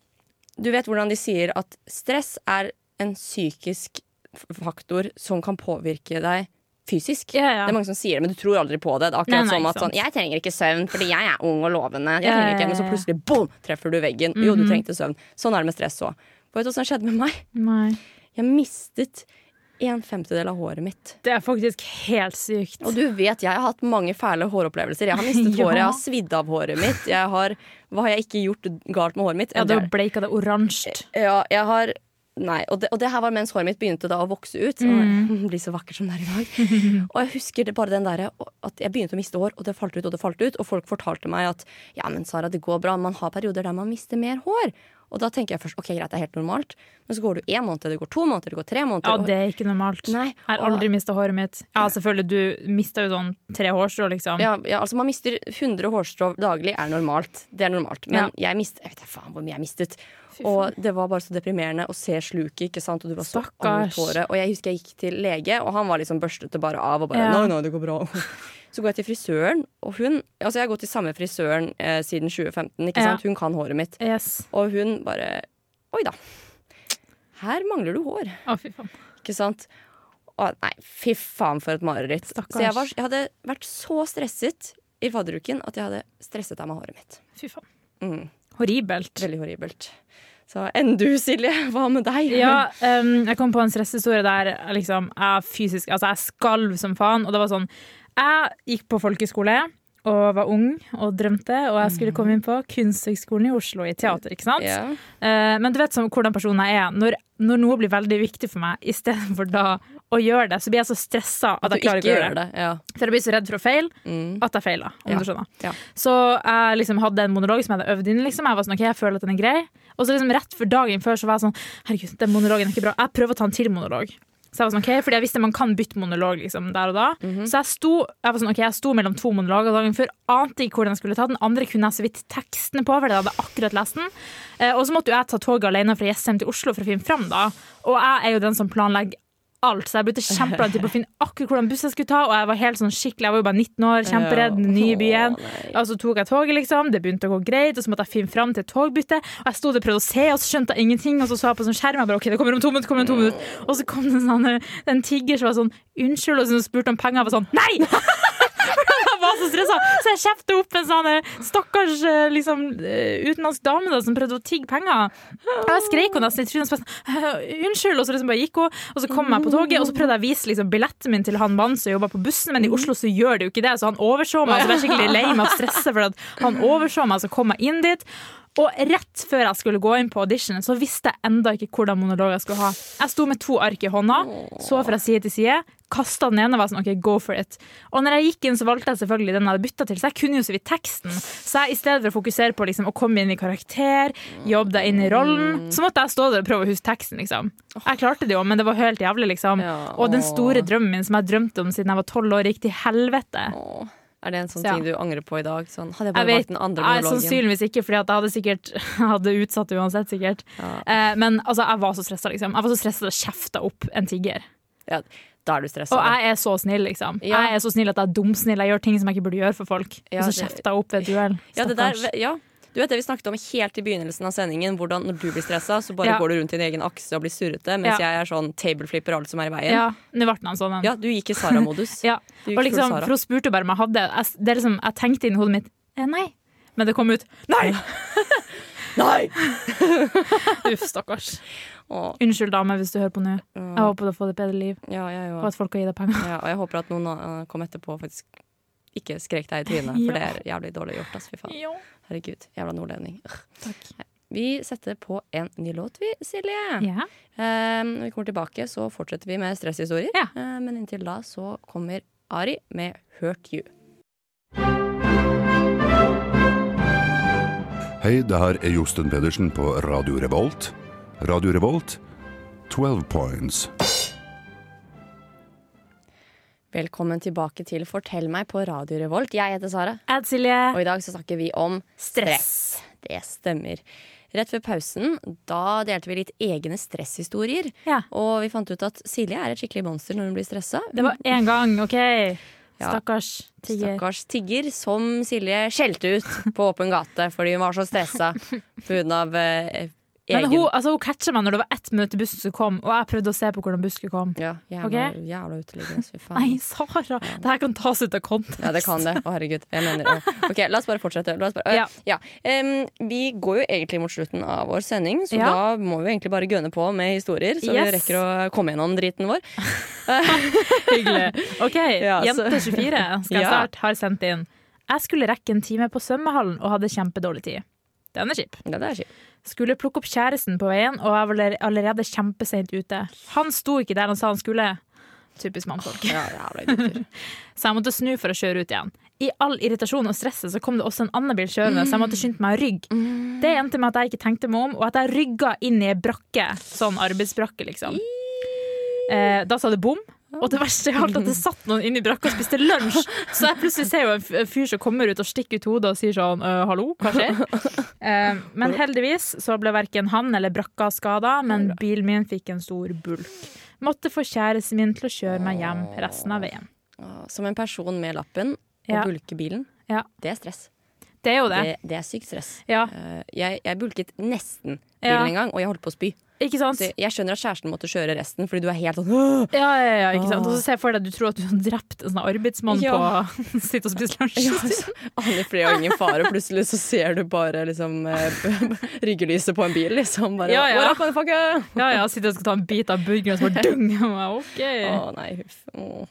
[SPEAKER 1] du vet hvordan de sier at stress er en psykisk f- faktor som kan påvirke deg fysisk.
[SPEAKER 4] Ja, ja.
[SPEAKER 1] Det er mange som sier det, men du tror aldri på det. Det er
[SPEAKER 4] Nei,
[SPEAKER 1] akkurat
[SPEAKER 4] nei,
[SPEAKER 1] som
[SPEAKER 4] ikke
[SPEAKER 1] at sånn,
[SPEAKER 4] sant.
[SPEAKER 1] jeg trenger ikke søvn fordi jeg er ung og lovende. Jeg
[SPEAKER 4] Ja,
[SPEAKER 1] trenger
[SPEAKER 4] ja,
[SPEAKER 1] ikke, Men så
[SPEAKER 4] ja, Mm-hmm. ja.
[SPEAKER 1] plutselig boom, treffer du veggen. Jo, du trengte søvn. Sånn er det med stress òg. Vet du hva som skjedde med meg?
[SPEAKER 4] Nei.
[SPEAKER 1] Jeg mistet en femtedel av håret mitt.
[SPEAKER 4] Det er faktisk helt sykt.
[SPEAKER 1] Og du vet, jeg har hatt mange fæle håropplevelser. Jeg har mistet
[SPEAKER 4] Ja.
[SPEAKER 1] håret, jeg har svidd av håret mitt. Jeg har, hva har jeg ikke gjort galt med håret mitt?
[SPEAKER 4] Ja,
[SPEAKER 1] Det
[SPEAKER 4] da
[SPEAKER 1] er-
[SPEAKER 4] bleika det oransje.
[SPEAKER 1] Ja, jeg har Nei, og det, og det her var mens håret mitt begynte da å vokse ut. Mm. Blir så vakkert som det er i dag. og jeg husker det bare den derre at jeg begynte å miste hår, og det falt ut og det falt ut. Og folk fortalte meg at ja, men Sara, det går bra. Man har perioder der man mister mer hår. Og da tenker jeg først ok, greit, det er helt normalt. Men så går det jo én måned, det går to måneder, det går tre måneder.
[SPEAKER 4] Ja,
[SPEAKER 1] og-
[SPEAKER 4] det er ikke normalt.
[SPEAKER 1] Nei,
[SPEAKER 4] jeg har
[SPEAKER 1] og-
[SPEAKER 4] aldri mista håret mitt. Ja, selvfølgelig, du mista jo sånn tre hårstrå, liksom.
[SPEAKER 1] ja, ja, altså Man mister 100 hårstrå daglig, er normalt. Det er normalt. Men jeg mistet Jeg vet da faen hvor mye jeg mistet. Og det var bare så deprimerende å se sluket, ikke sant. Og du var så annet
[SPEAKER 4] Stakkars.
[SPEAKER 1] håret. Og jeg husker jeg gikk til lege, og han var liksom børstet det bare av. Og bare,
[SPEAKER 4] Ja.
[SPEAKER 1] nei, nei, det går bra Så går jeg til frisøren, og hun Altså jeg har gått til samme frisøren eh, siden 2015, ikke
[SPEAKER 4] Ja.
[SPEAKER 1] sant. Hun kan håret mitt.
[SPEAKER 4] Yes.
[SPEAKER 1] Og hun bare Oi da. Her mangler du hår.
[SPEAKER 4] Å, fy faen.
[SPEAKER 1] Ikke sant? Å, nei, fy faen for et mareritt.
[SPEAKER 4] Stakkars.
[SPEAKER 1] Så jeg, var, jeg hadde vært så stresset i fadderuken at jeg hadde stresset av meg håret mitt.
[SPEAKER 4] Fy faen.
[SPEAKER 1] Mm,
[SPEAKER 4] Horribelt.
[SPEAKER 1] veldig horribelt. Så enn du, Silje? Hva med deg?
[SPEAKER 4] Ja, em, jeg kom på en stresshistorie der jeg liksom, jeg fysisk Altså, jeg skalv som faen, og det var sånn Jeg gikk på folkeskole og var ung og drømte, og jeg skulle komme inn på Kunsthøgskolen i Oslo i teater, ikke sant?
[SPEAKER 1] Mm. Ja.
[SPEAKER 4] Eh, men du vet sånn, hvordan personen jeg er. Når, når noe blir veldig viktig for meg, istedenfor da å gjøre det, så blir jeg så stressa at
[SPEAKER 1] At du
[SPEAKER 4] jeg klarer
[SPEAKER 1] ikke
[SPEAKER 4] ikke å gjøre
[SPEAKER 1] gjør
[SPEAKER 4] det.
[SPEAKER 1] det. Ja.
[SPEAKER 4] For jeg blir så redd for å feile
[SPEAKER 1] Mm.
[SPEAKER 4] at jeg feila, om
[SPEAKER 1] Ja.
[SPEAKER 4] du skjønner.
[SPEAKER 1] Ja.
[SPEAKER 4] Så jeg liksom hadde en monolog som jeg hadde øvd inn. Liksom. Jeg var sånn, ok, jeg føler at den er grei. Og så liksom rett for dagen før så var jeg sånn, herregud, den monologen er ikke bra. Jeg prøver å ta en til monolog. Så jeg var sånn, ok, fordi jeg visste man kan bytte monolog liksom, der og da.
[SPEAKER 1] Mhm.
[SPEAKER 4] Så jeg sto, jeg var sånn, ok, jeg sto mellom to monologer dagen før, ante ikke hvordan jeg skulle ta den. Andre kunne jeg så vidt tekstene på, fordi jeg hadde akkurat lest den. Eh, og så måtte jo jeg ta toget alene fra Jessheim til Oslo for å finne fram da. Og jeg er jo den som planlegger alt, så jeg brukte kjempelang tid på å finne akkurat hvordan buss jeg skulle ta, og jeg var helt sånn skikkelig, jeg var jo bare 19 år, kjemperedd, den nye byen.
[SPEAKER 1] Å, nei.
[SPEAKER 4] Og så tok jeg toget, liksom. Det begynte å gå greit. Og så måtte jeg finne fram til et togbytte. Og jeg sto der og prøvde å se, og så skjønte jeg ingenting. Og så så jeg på sånn skjerm, og jeg bare OK, det kommer om to minutter, kommer om to minutter. Og så kom det en sånn eh, en tigger som var sånn unnskyld, og så spurte om penger. Jeg var sånn nei! Jeg var så stressa, så jeg kjefta opp en sånn eh, stakkars eh, liksom, eh, utenlandsk dame da, som prøvde å tigge penger. Og jeg skreik henne nesten i trynet og så bare sånn, «Eh, unnskyld, og så liksom bare gikk hun. Og så kom jeg på toget, og så prøvde jeg å vise liksom, billetten min til han mannen som jobba på bussen, men i Oslo så gjør det jo ikke det, så han overså meg. Så jeg var skikkelig lei meg og stressa for at han overså meg, så kom jeg inn dit. Og rett før jeg skulle gå inn på audition, så visste jeg enda ikke hvordan monolog jeg skulle ha. Jeg sto med to ark i hånda, så fra side til side, kasta den ene og var sånn OK, go for it. Og når jeg gikk inn, så valgte jeg selvfølgelig den jeg hadde bytta til, så jeg kunne jo så vidt teksten. Så jeg i stedet for å fokusere på liksom, å komme inn i karakter, jobbe deg inn i rollen, så måtte jeg stå der og prøve å huske teksten, liksom. Jeg klarte det jo, men det var helt jævlig, liksom.
[SPEAKER 1] Ja,
[SPEAKER 4] Og den
[SPEAKER 1] åh.
[SPEAKER 4] store drømmen min som jeg drømte om siden jeg var tolv år, gikk til helvete.
[SPEAKER 1] Å, Er det en sånn
[SPEAKER 4] Så ja.
[SPEAKER 1] ting du angrer på i dag? Sånn, hadde jeg
[SPEAKER 4] Jeg
[SPEAKER 1] bare
[SPEAKER 4] vet,
[SPEAKER 1] valgt den andre
[SPEAKER 4] nei,
[SPEAKER 1] monologen?
[SPEAKER 4] sannsynligvis ikke, Fordi at jeg hadde sikkert jeg hadde utsatt det uansett. sikkert eh, Men altså, jeg var så stressa, liksom. Jeg var så stresset at jeg kjefta opp en tigger.
[SPEAKER 1] Ja, da er du stressa.
[SPEAKER 4] Og
[SPEAKER 1] da.
[SPEAKER 4] jeg er så snill, liksom.
[SPEAKER 1] Ja.
[SPEAKER 4] Jeg er så snill at jeg er dumsnill. Jeg gjør ting som jeg ikke burde gjøre for folk.
[SPEAKER 1] Ja,
[SPEAKER 4] og så
[SPEAKER 1] det-
[SPEAKER 4] kjefta jeg opp ved et duell.
[SPEAKER 1] Ja, det
[SPEAKER 4] Stakkars.
[SPEAKER 1] der, ja. Du vet det vi snakket om helt i begynnelsen av sendingen, hvordan når du blir stressa, så bare
[SPEAKER 4] Ja.
[SPEAKER 1] går du rundt i din egen akse og blir surrete, mens
[SPEAKER 4] Ja.
[SPEAKER 1] jeg er sånn tableflipper og alt som er i veien.
[SPEAKER 4] ja, Nå ble han sånn, den.
[SPEAKER 1] Ja, du gikk i Sara-modus.
[SPEAKER 4] Ja.
[SPEAKER 1] Du gikk
[SPEAKER 4] Og
[SPEAKER 1] full
[SPEAKER 4] liksom,
[SPEAKER 1] Sara.
[SPEAKER 4] for hun spurte bare om jeg hadde jeg, Det er liksom, jeg tenkte inni hodet mitt eh, nei. Men det kom ut nei!
[SPEAKER 1] Nei!
[SPEAKER 4] Uff, stakkars.
[SPEAKER 1] Åh,
[SPEAKER 4] Unnskyld, dame, hvis du hører på nå. Jeg håper du får et bedre liv,
[SPEAKER 1] ja, jeg
[SPEAKER 4] og
[SPEAKER 1] òg.
[SPEAKER 4] at folk har gitt deg penger.
[SPEAKER 1] Ja, og jeg håper at noen eh, kom etterpå og faktisk ikke skrek deg i trynet, for
[SPEAKER 4] Ja.
[SPEAKER 1] det er jævlig dårlig gjort. Ass, fy faen. Herregud, jævla nordlending. Ugh. Nei, Vi setter på en ny låt, vi, Silje.
[SPEAKER 4] Ja.
[SPEAKER 1] Eh, når vi kommer tilbake, så fortsetter vi med stresshistorier.
[SPEAKER 4] Ja.
[SPEAKER 1] Eh, men inntil da så kommer Ari med 'Hurt You'.
[SPEAKER 10] Hei, det her er Josten Pedersen på Radio Revolt. Radio Revolt, 12 points.
[SPEAKER 1] Velkommen tilbake til Fortell meg på Radio Revolt. Jeg heter Sara,
[SPEAKER 4] Ed Silje.
[SPEAKER 1] og i dag så snakker vi om
[SPEAKER 4] Stress.
[SPEAKER 1] Det stemmer. Rett før pausen da delte vi litt egne stresshistorier.
[SPEAKER 4] Ja.
[SPEAKER 1] Og vi fant ut at Silje er et skikkelig monster når hun blir stressa.
[SPEAKER 4] Det var én gang, OK?
[SPEAKER 1] Ja.
[SPEAKER 4] Stakkars tigger.
[SPEAKER 1] Stakkars tigger som Silje skjelte ut på åpen gate fordi hun var så stressa pga. Eh,
[SPEAKER 4] Men
[SPEAKER 1] egen
[SPEAKER 4] hun, altså, hun catcha meg når det var ett minutt til bussen skulle komme, og jeg prøvde å se på hvordan bussen skulle komme.
[SPEAKER 1] ja, jævla,
[SPEAKER 4] Ok.
[SPEAKER 1] jævla uteliggende. Fy faen.
[SPEAKER 4] Nei, Sara! Det her kan tas ut av kontekst.
[SPEAKER 1] Ja, det kan det. Å, herregud. Jeg mener det. Ok, la oss bare fortsette. La oss bare,
[SPEAKER 4] Ja.
[SPEAKER 1] ja. Em, vi går jo egentlig mot slutten av vår sending, så
[SPEAKER 4] Ja.
[SPEAKER 1] da må vi egentlig bare gønne på med historier, så vi
[SPEAKER 4] Yes.
[SPEAKER 1] rekker å komme gjennom driten vår.
[SPEAKER 4] Hyggelig. OK,
[SPEAKER 1] Ja, så-
[SPEAKER 4] Jente24 skal jeg
[SPEAKER 1] Ja.
[SPEAKER 4] starte, har sendt inn. Jeg skulle rekke en time på svømmehallen og hadde kjempedårlig tid. Den er kjip.
[SPEAKER 1] Ja, det er kjipt.
[SPEAKER 4] Skulle plukke opp kjæresten på veien, og jeg var allerede kjempeseint ute. Han sto ikke der han sa han skulle. Typisk mannfolk.
[SPEAKER 1] Ja, jævla idioter.
[SPEAKER 4] så jeg måtte snu for å kjøre ut igjen. i all irritasjon og stresset så kom det også en annen bil kjørende, så jeg måtte skynde meg å rygge. Det endte med at jeg ikke tenkte meg om, og at jeg rygga inn i ei brakke, sånn arbeidsbrakke, liksom. Eh, da sa det bom. Og det verste er alt at det satt noen inne i brakka og spiste lunsj. Så jeg plutselig ser jo en f- fyr som kommer ut og stikker ut hodet og sier sånn «Øh, hallo, hva skjer? Eh, men heldigvis så ble verken han eller brakka skada, men bilen min fikk en stor bulk. Måtte få kjæresten min til å kjøre meg hjem resten av veien.
[SPEAKER 1] Å, Som en person med lappen og
[SPEAKER 4] Ja.
[SPEAKER 1] bulke bilen.
[SPEAKER 4] Ja.
[SPEAKER 1] Det er stress.
[SPEAKER 4] Det er jo det.
[SPEAKER 1] Det, det er sykt stress.
[SPEAKER 4] Ja,
[SPEAKER 1] Eh, Jeg, jeg bulket nesten bilen
[SPEAKER 4] Ja.
[SPEAKER 1] en gang, og jeg holdt på å spy.
[SPEAKER 4] Eh, ikke sant?
[SPEAKER 1] Så jeg- jeg skjønner at kjæresten måtte kjøre resten, fordi du er helt sånn «Åh!»
[SPEAKER 4] Ja, ja, ja, ikke sant? Og så ser jeg for deg at du tror at du har drept en sånn arbeidsmann
[SPEAKER 1] Ja.
[SPEAKER 4] på sitt og spise
[SPEAKER 1] Ja,
[SPEAKER 4] lunsj.
[SPEAKER 1] så Aner fred og ingen fare, og plutselig så ser du bare liksom eh, ryggelyset på en bil, liksom. Bare
[SPEAKER 4] Ja, ja.
[SPEAKER 1] What up, motherfucker?
[SPEAKER 4] Ja, ja, sitter og skal ta en bit av burgeren, og så bare dung! Og jeg, OK,
[SPEAKER 1] Å nei, huff. Å,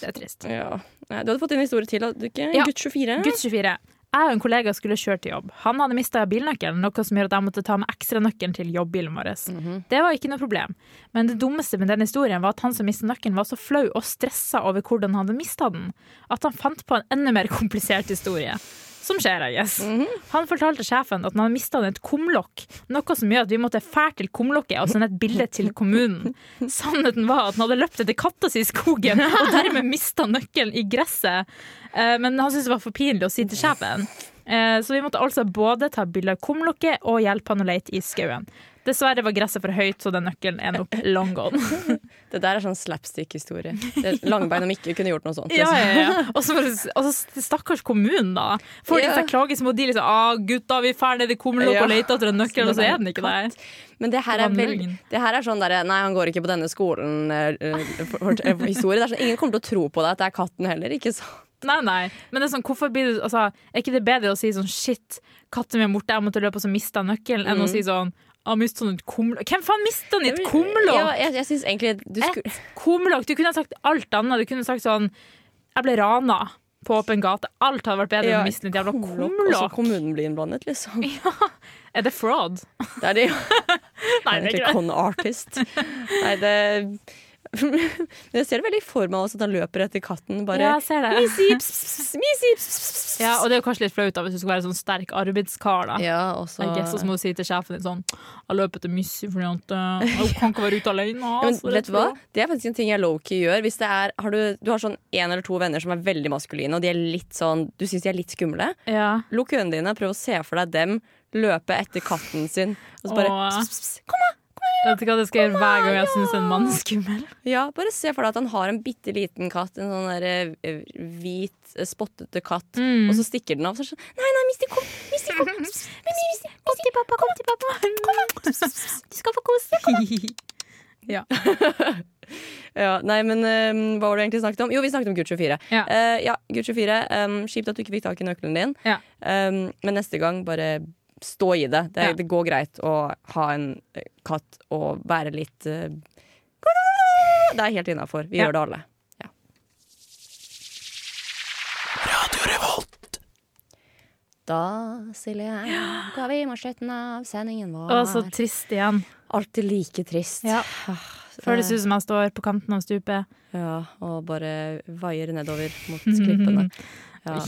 [SPEAKER 4] det er trist.
[SPEAKER 1] ja. Nei, du hadde fått inn en historie til, hadde du ikke?
[SPEAKER 4] Ja.
[SPEAKER 1] Gutt 24?
[SPEAKER 4] Gutt 24. Jeg og en kollega skulle kjøre til jobb. Han hadde mista bilnøkkelen, noe som gjør at jeg måtte ta med ekstranøkkelen til jobbbilen vår. Det var ikke noe problem. Men det dummeste med den historien var at han som mista nøkkelen, var så flau og stressa over hvordan han hadde mista den, at han fant på en enda mer komplisert historie. Som skjer, I guess. Han fortalte sjefen at han hadde mista et kumlokk, noe som gjør at vi måtte fære til kumlokket og sende et bilde til kommunen. Sannheten var at han hadde løpt etter katta si i skogen og dermed mista nøkkelen i gresset. Eh, Men han syntes det var for pinlig å si til sjefen. Eh, Så vi måtte altså både ta bilde av kumlokket og hjelpe han å leite i skauen. Dessverre var gresset for høyt, så den nøkkelen er nok long gone.
[SPEAKER 1] Det der er sånn slapstick-historie. Det er Langbein om ikke kunne gjort noe sånt.
[SPEAKER 4] Ja,
[SPEAKER 1] liksom.
[SPEAKER 4] ja, ja. Og så var det- og så stakkars kommunen, da. Får de
[SPEAKER 1] Ja.
[SPEAKER 4] seg klage, så må de liksom ah, 'Gutta, vi drar ned i kumlokket og
[SPEAKER 1] Ja.
[SPEAKER 4] leter etter en nøkkel', og så er den ikke der.
[SPEAKER 1] Men det her,
[SPEAKER 4] Det
[SPEAKER 1] er
[SPEAKER 4] var
[SPEAKER 1] vel,
[SPEAKER 4] muggen.
[SPEAKER 1] det her er sånn derre Nei, han går ikke på denne skolen eh, eh, for, for, eh, historie. Det er sånn, ingen kommer til å tro på deg at det er katten heller, ikke sant?
[SPEAKER 4] Nei, nei. Men det er sånn, hvorfor blir det altså, Er ikke det bedre å si sånn shit, katten min er borte, jeg måtte løpe, og så mista jeg nøkkelen, enn å si sånn ah, mistet han et kumlokk? Hvem faen mista han i et kumlokk?
[SPEAKER 1] Mm. Ja, jeg, jeg synes egentlig du skulle
[SPEAKER 4] Et kumlokk! Du kunne ha sagt alt annet. Du kunne sagt sånn Jeg ble rana på åpen gate. Alt hadde vært bedre enn å miste et jævla
[SPEAKER 1] Og så
[SPEAKER 4] kumlokk.
[SPEAKER 1] kommunen blir innblandet, liksom.
[SPEAKER 4] Er det fraud?
[SPEAKER 1] Det er det jo.
[SPEAKER 4] Nei, det er
[SPEAKER 1] Egentlig
[SPEAKER 4] ikke det.
[SPEAKER 1] con artist. Nei, det Men jeg ser det veldig for meg også, at han løper etter katten. Bare
[SPEAKER 4] Ja, jeg ser det.
[SPEAKER 1] Misi, pss, pss, pss, misi, pss, pss, pss.
[SPEAKER 4] Ja, og det er jo kanskje litt flaut da, hvis du skal være sånn sterk arbeidskar. da
[SPEAKER 1] Ja, og så
[SPEAKER 4] I guess, Og så må du si til sjefen din sånn Jeg løper etter Missy fordi at eh, hun kan ikke være ute alene.
[SPEAKER 1] Ja, men
[SPEAKER 4] altså,
[SPEAKER 1] vet
[SPEAKER 4] det
[SPEAKER 1] du hva?
[SPEAKER 4] tror jeg.
[SPEAKER 1] Det er faktisk en ting jeg lowkey gjør. Hvis det er, har du, du har sånn en eller to venner som er veldig maskuline, og de er litt sånn, du syns de er litt skumle.
[SPEAKER 4] Ja.
[SPEAKER 1] Lukk øynene dine, prøv å se for deg dem løpe etter katten sin. Og så bare,
[SPEAKER 4] Åh.
[SPEAKER 1] pss, pss, kom her!
[SPEAKER 4] Vet du hva det skal jeg gjøre hver gang jeg syns en mann er skummel?
[SPEAKER 1] Ja, bare se for deg at han har en bitte liten katt, en sånn der, eh, hvit, eh, spottete katt, og så stikker den av. Så er det sånn, nei, nei, Misty, kom! Misty, kom! Pss, pss, Misty,
[SPEAKER 4] Kom til pappa, kom til pappa! Du skal få kose deg!
[SPEAKER 1] Ja, nei, men eh, hva var det egentlig snakket om? Jo, vi snakket om Gutt 24.
[SPEAKER 4] Ja.
[SPEAKER 1] Eh, ja Gutt 24, em, Kjipt at du ikke fikk tak i nøkkelen din.
[SPEAKER 4] Ja.
[SPEAKER 1] Em, men neste gang, bare stå i det. Det,
[SPEAKER 4] Ja.
[SPEAKER 1] det går greit å ha en eh, katt og være litt eh, Det er helt innafor. Vi
[SPEAKER 4] Ja.
[SPEAKER 1] gjør det alle. Ja. Da, Silje, ga vi med slutten av sendingen
[SPEAKER 4] Å,
[SPEAKER 1] vår.
[SPEAKER 4] så trist igjen.
[SPEAKER 1] Alltid like trist. Ah.
[SPEAKER 4] Ja. Føles ut som jeg står på kanten av stupet.
[SPEAKER 1] Ja, og bare vaier nedover mot klippene. Ja.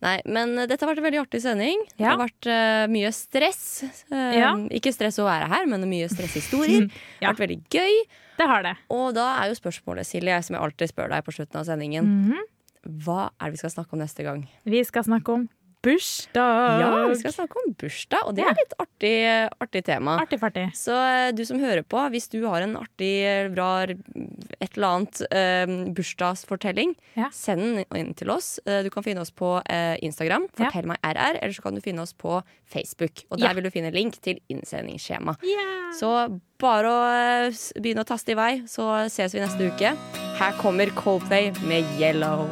[SPEAKER 1] Nei, men eh, dette har vært en veldig artig sending. Det
[SPEAKER 4] Ja.
[SPEAKER 1] har vært eh, mye stress. Eh,
[SPEAKER 4] Ja.
[SPEAKER 1] Ikke stress å være her, men mye stresshistorier. Det
[SPEAKER 4] Ja.
[SPEAKER 1] har vært veldig gøy.
[SPEAKER 4] Det har det.
[SPEAKER 1] Og da er jo spørsmålet, Silje, som jeg alltid spør deg på slutten av sendingen.
[SPEAKER 4] Mhm.
[SPEAKER 1] Hva er det vi skal snakke om neste gang?
[SPEAKER 4] Vi skal snakke om bursdag.
[SPEAKER 1] Ja, vi skal snakke om bursdag, og det
[SPEAKER 4] Ja.
[SPEAKER 1] er et artig, artig tema.
[SPEAKER 4] Artig fartig.
[SPEAKER 1] Så eh, du som hører på, hvis du har en artig, eh, bra eh, et eller annet eh, bursdagsfortelling,
[SPEAKER 4] Ja.
[SPEAKER 1] send den inn til oss. Eh, du kan finne oss på eh, Instagram,
[SPEAKER 4] Ja.
[SPEAKER 1] fortell meg RR, eller så kan du finne oss på Facebook. Og der
[SPEAKER 4] Ja.
[SPEAKER 1] vil du finne link til innsendingsskjema.
[SPEAKER 4] Yeah.
[SPEAKER 1] Så bare å eh, s- begynne å taste i vei, så ses vi neste uke. Her kommer Coldplay med Yellow.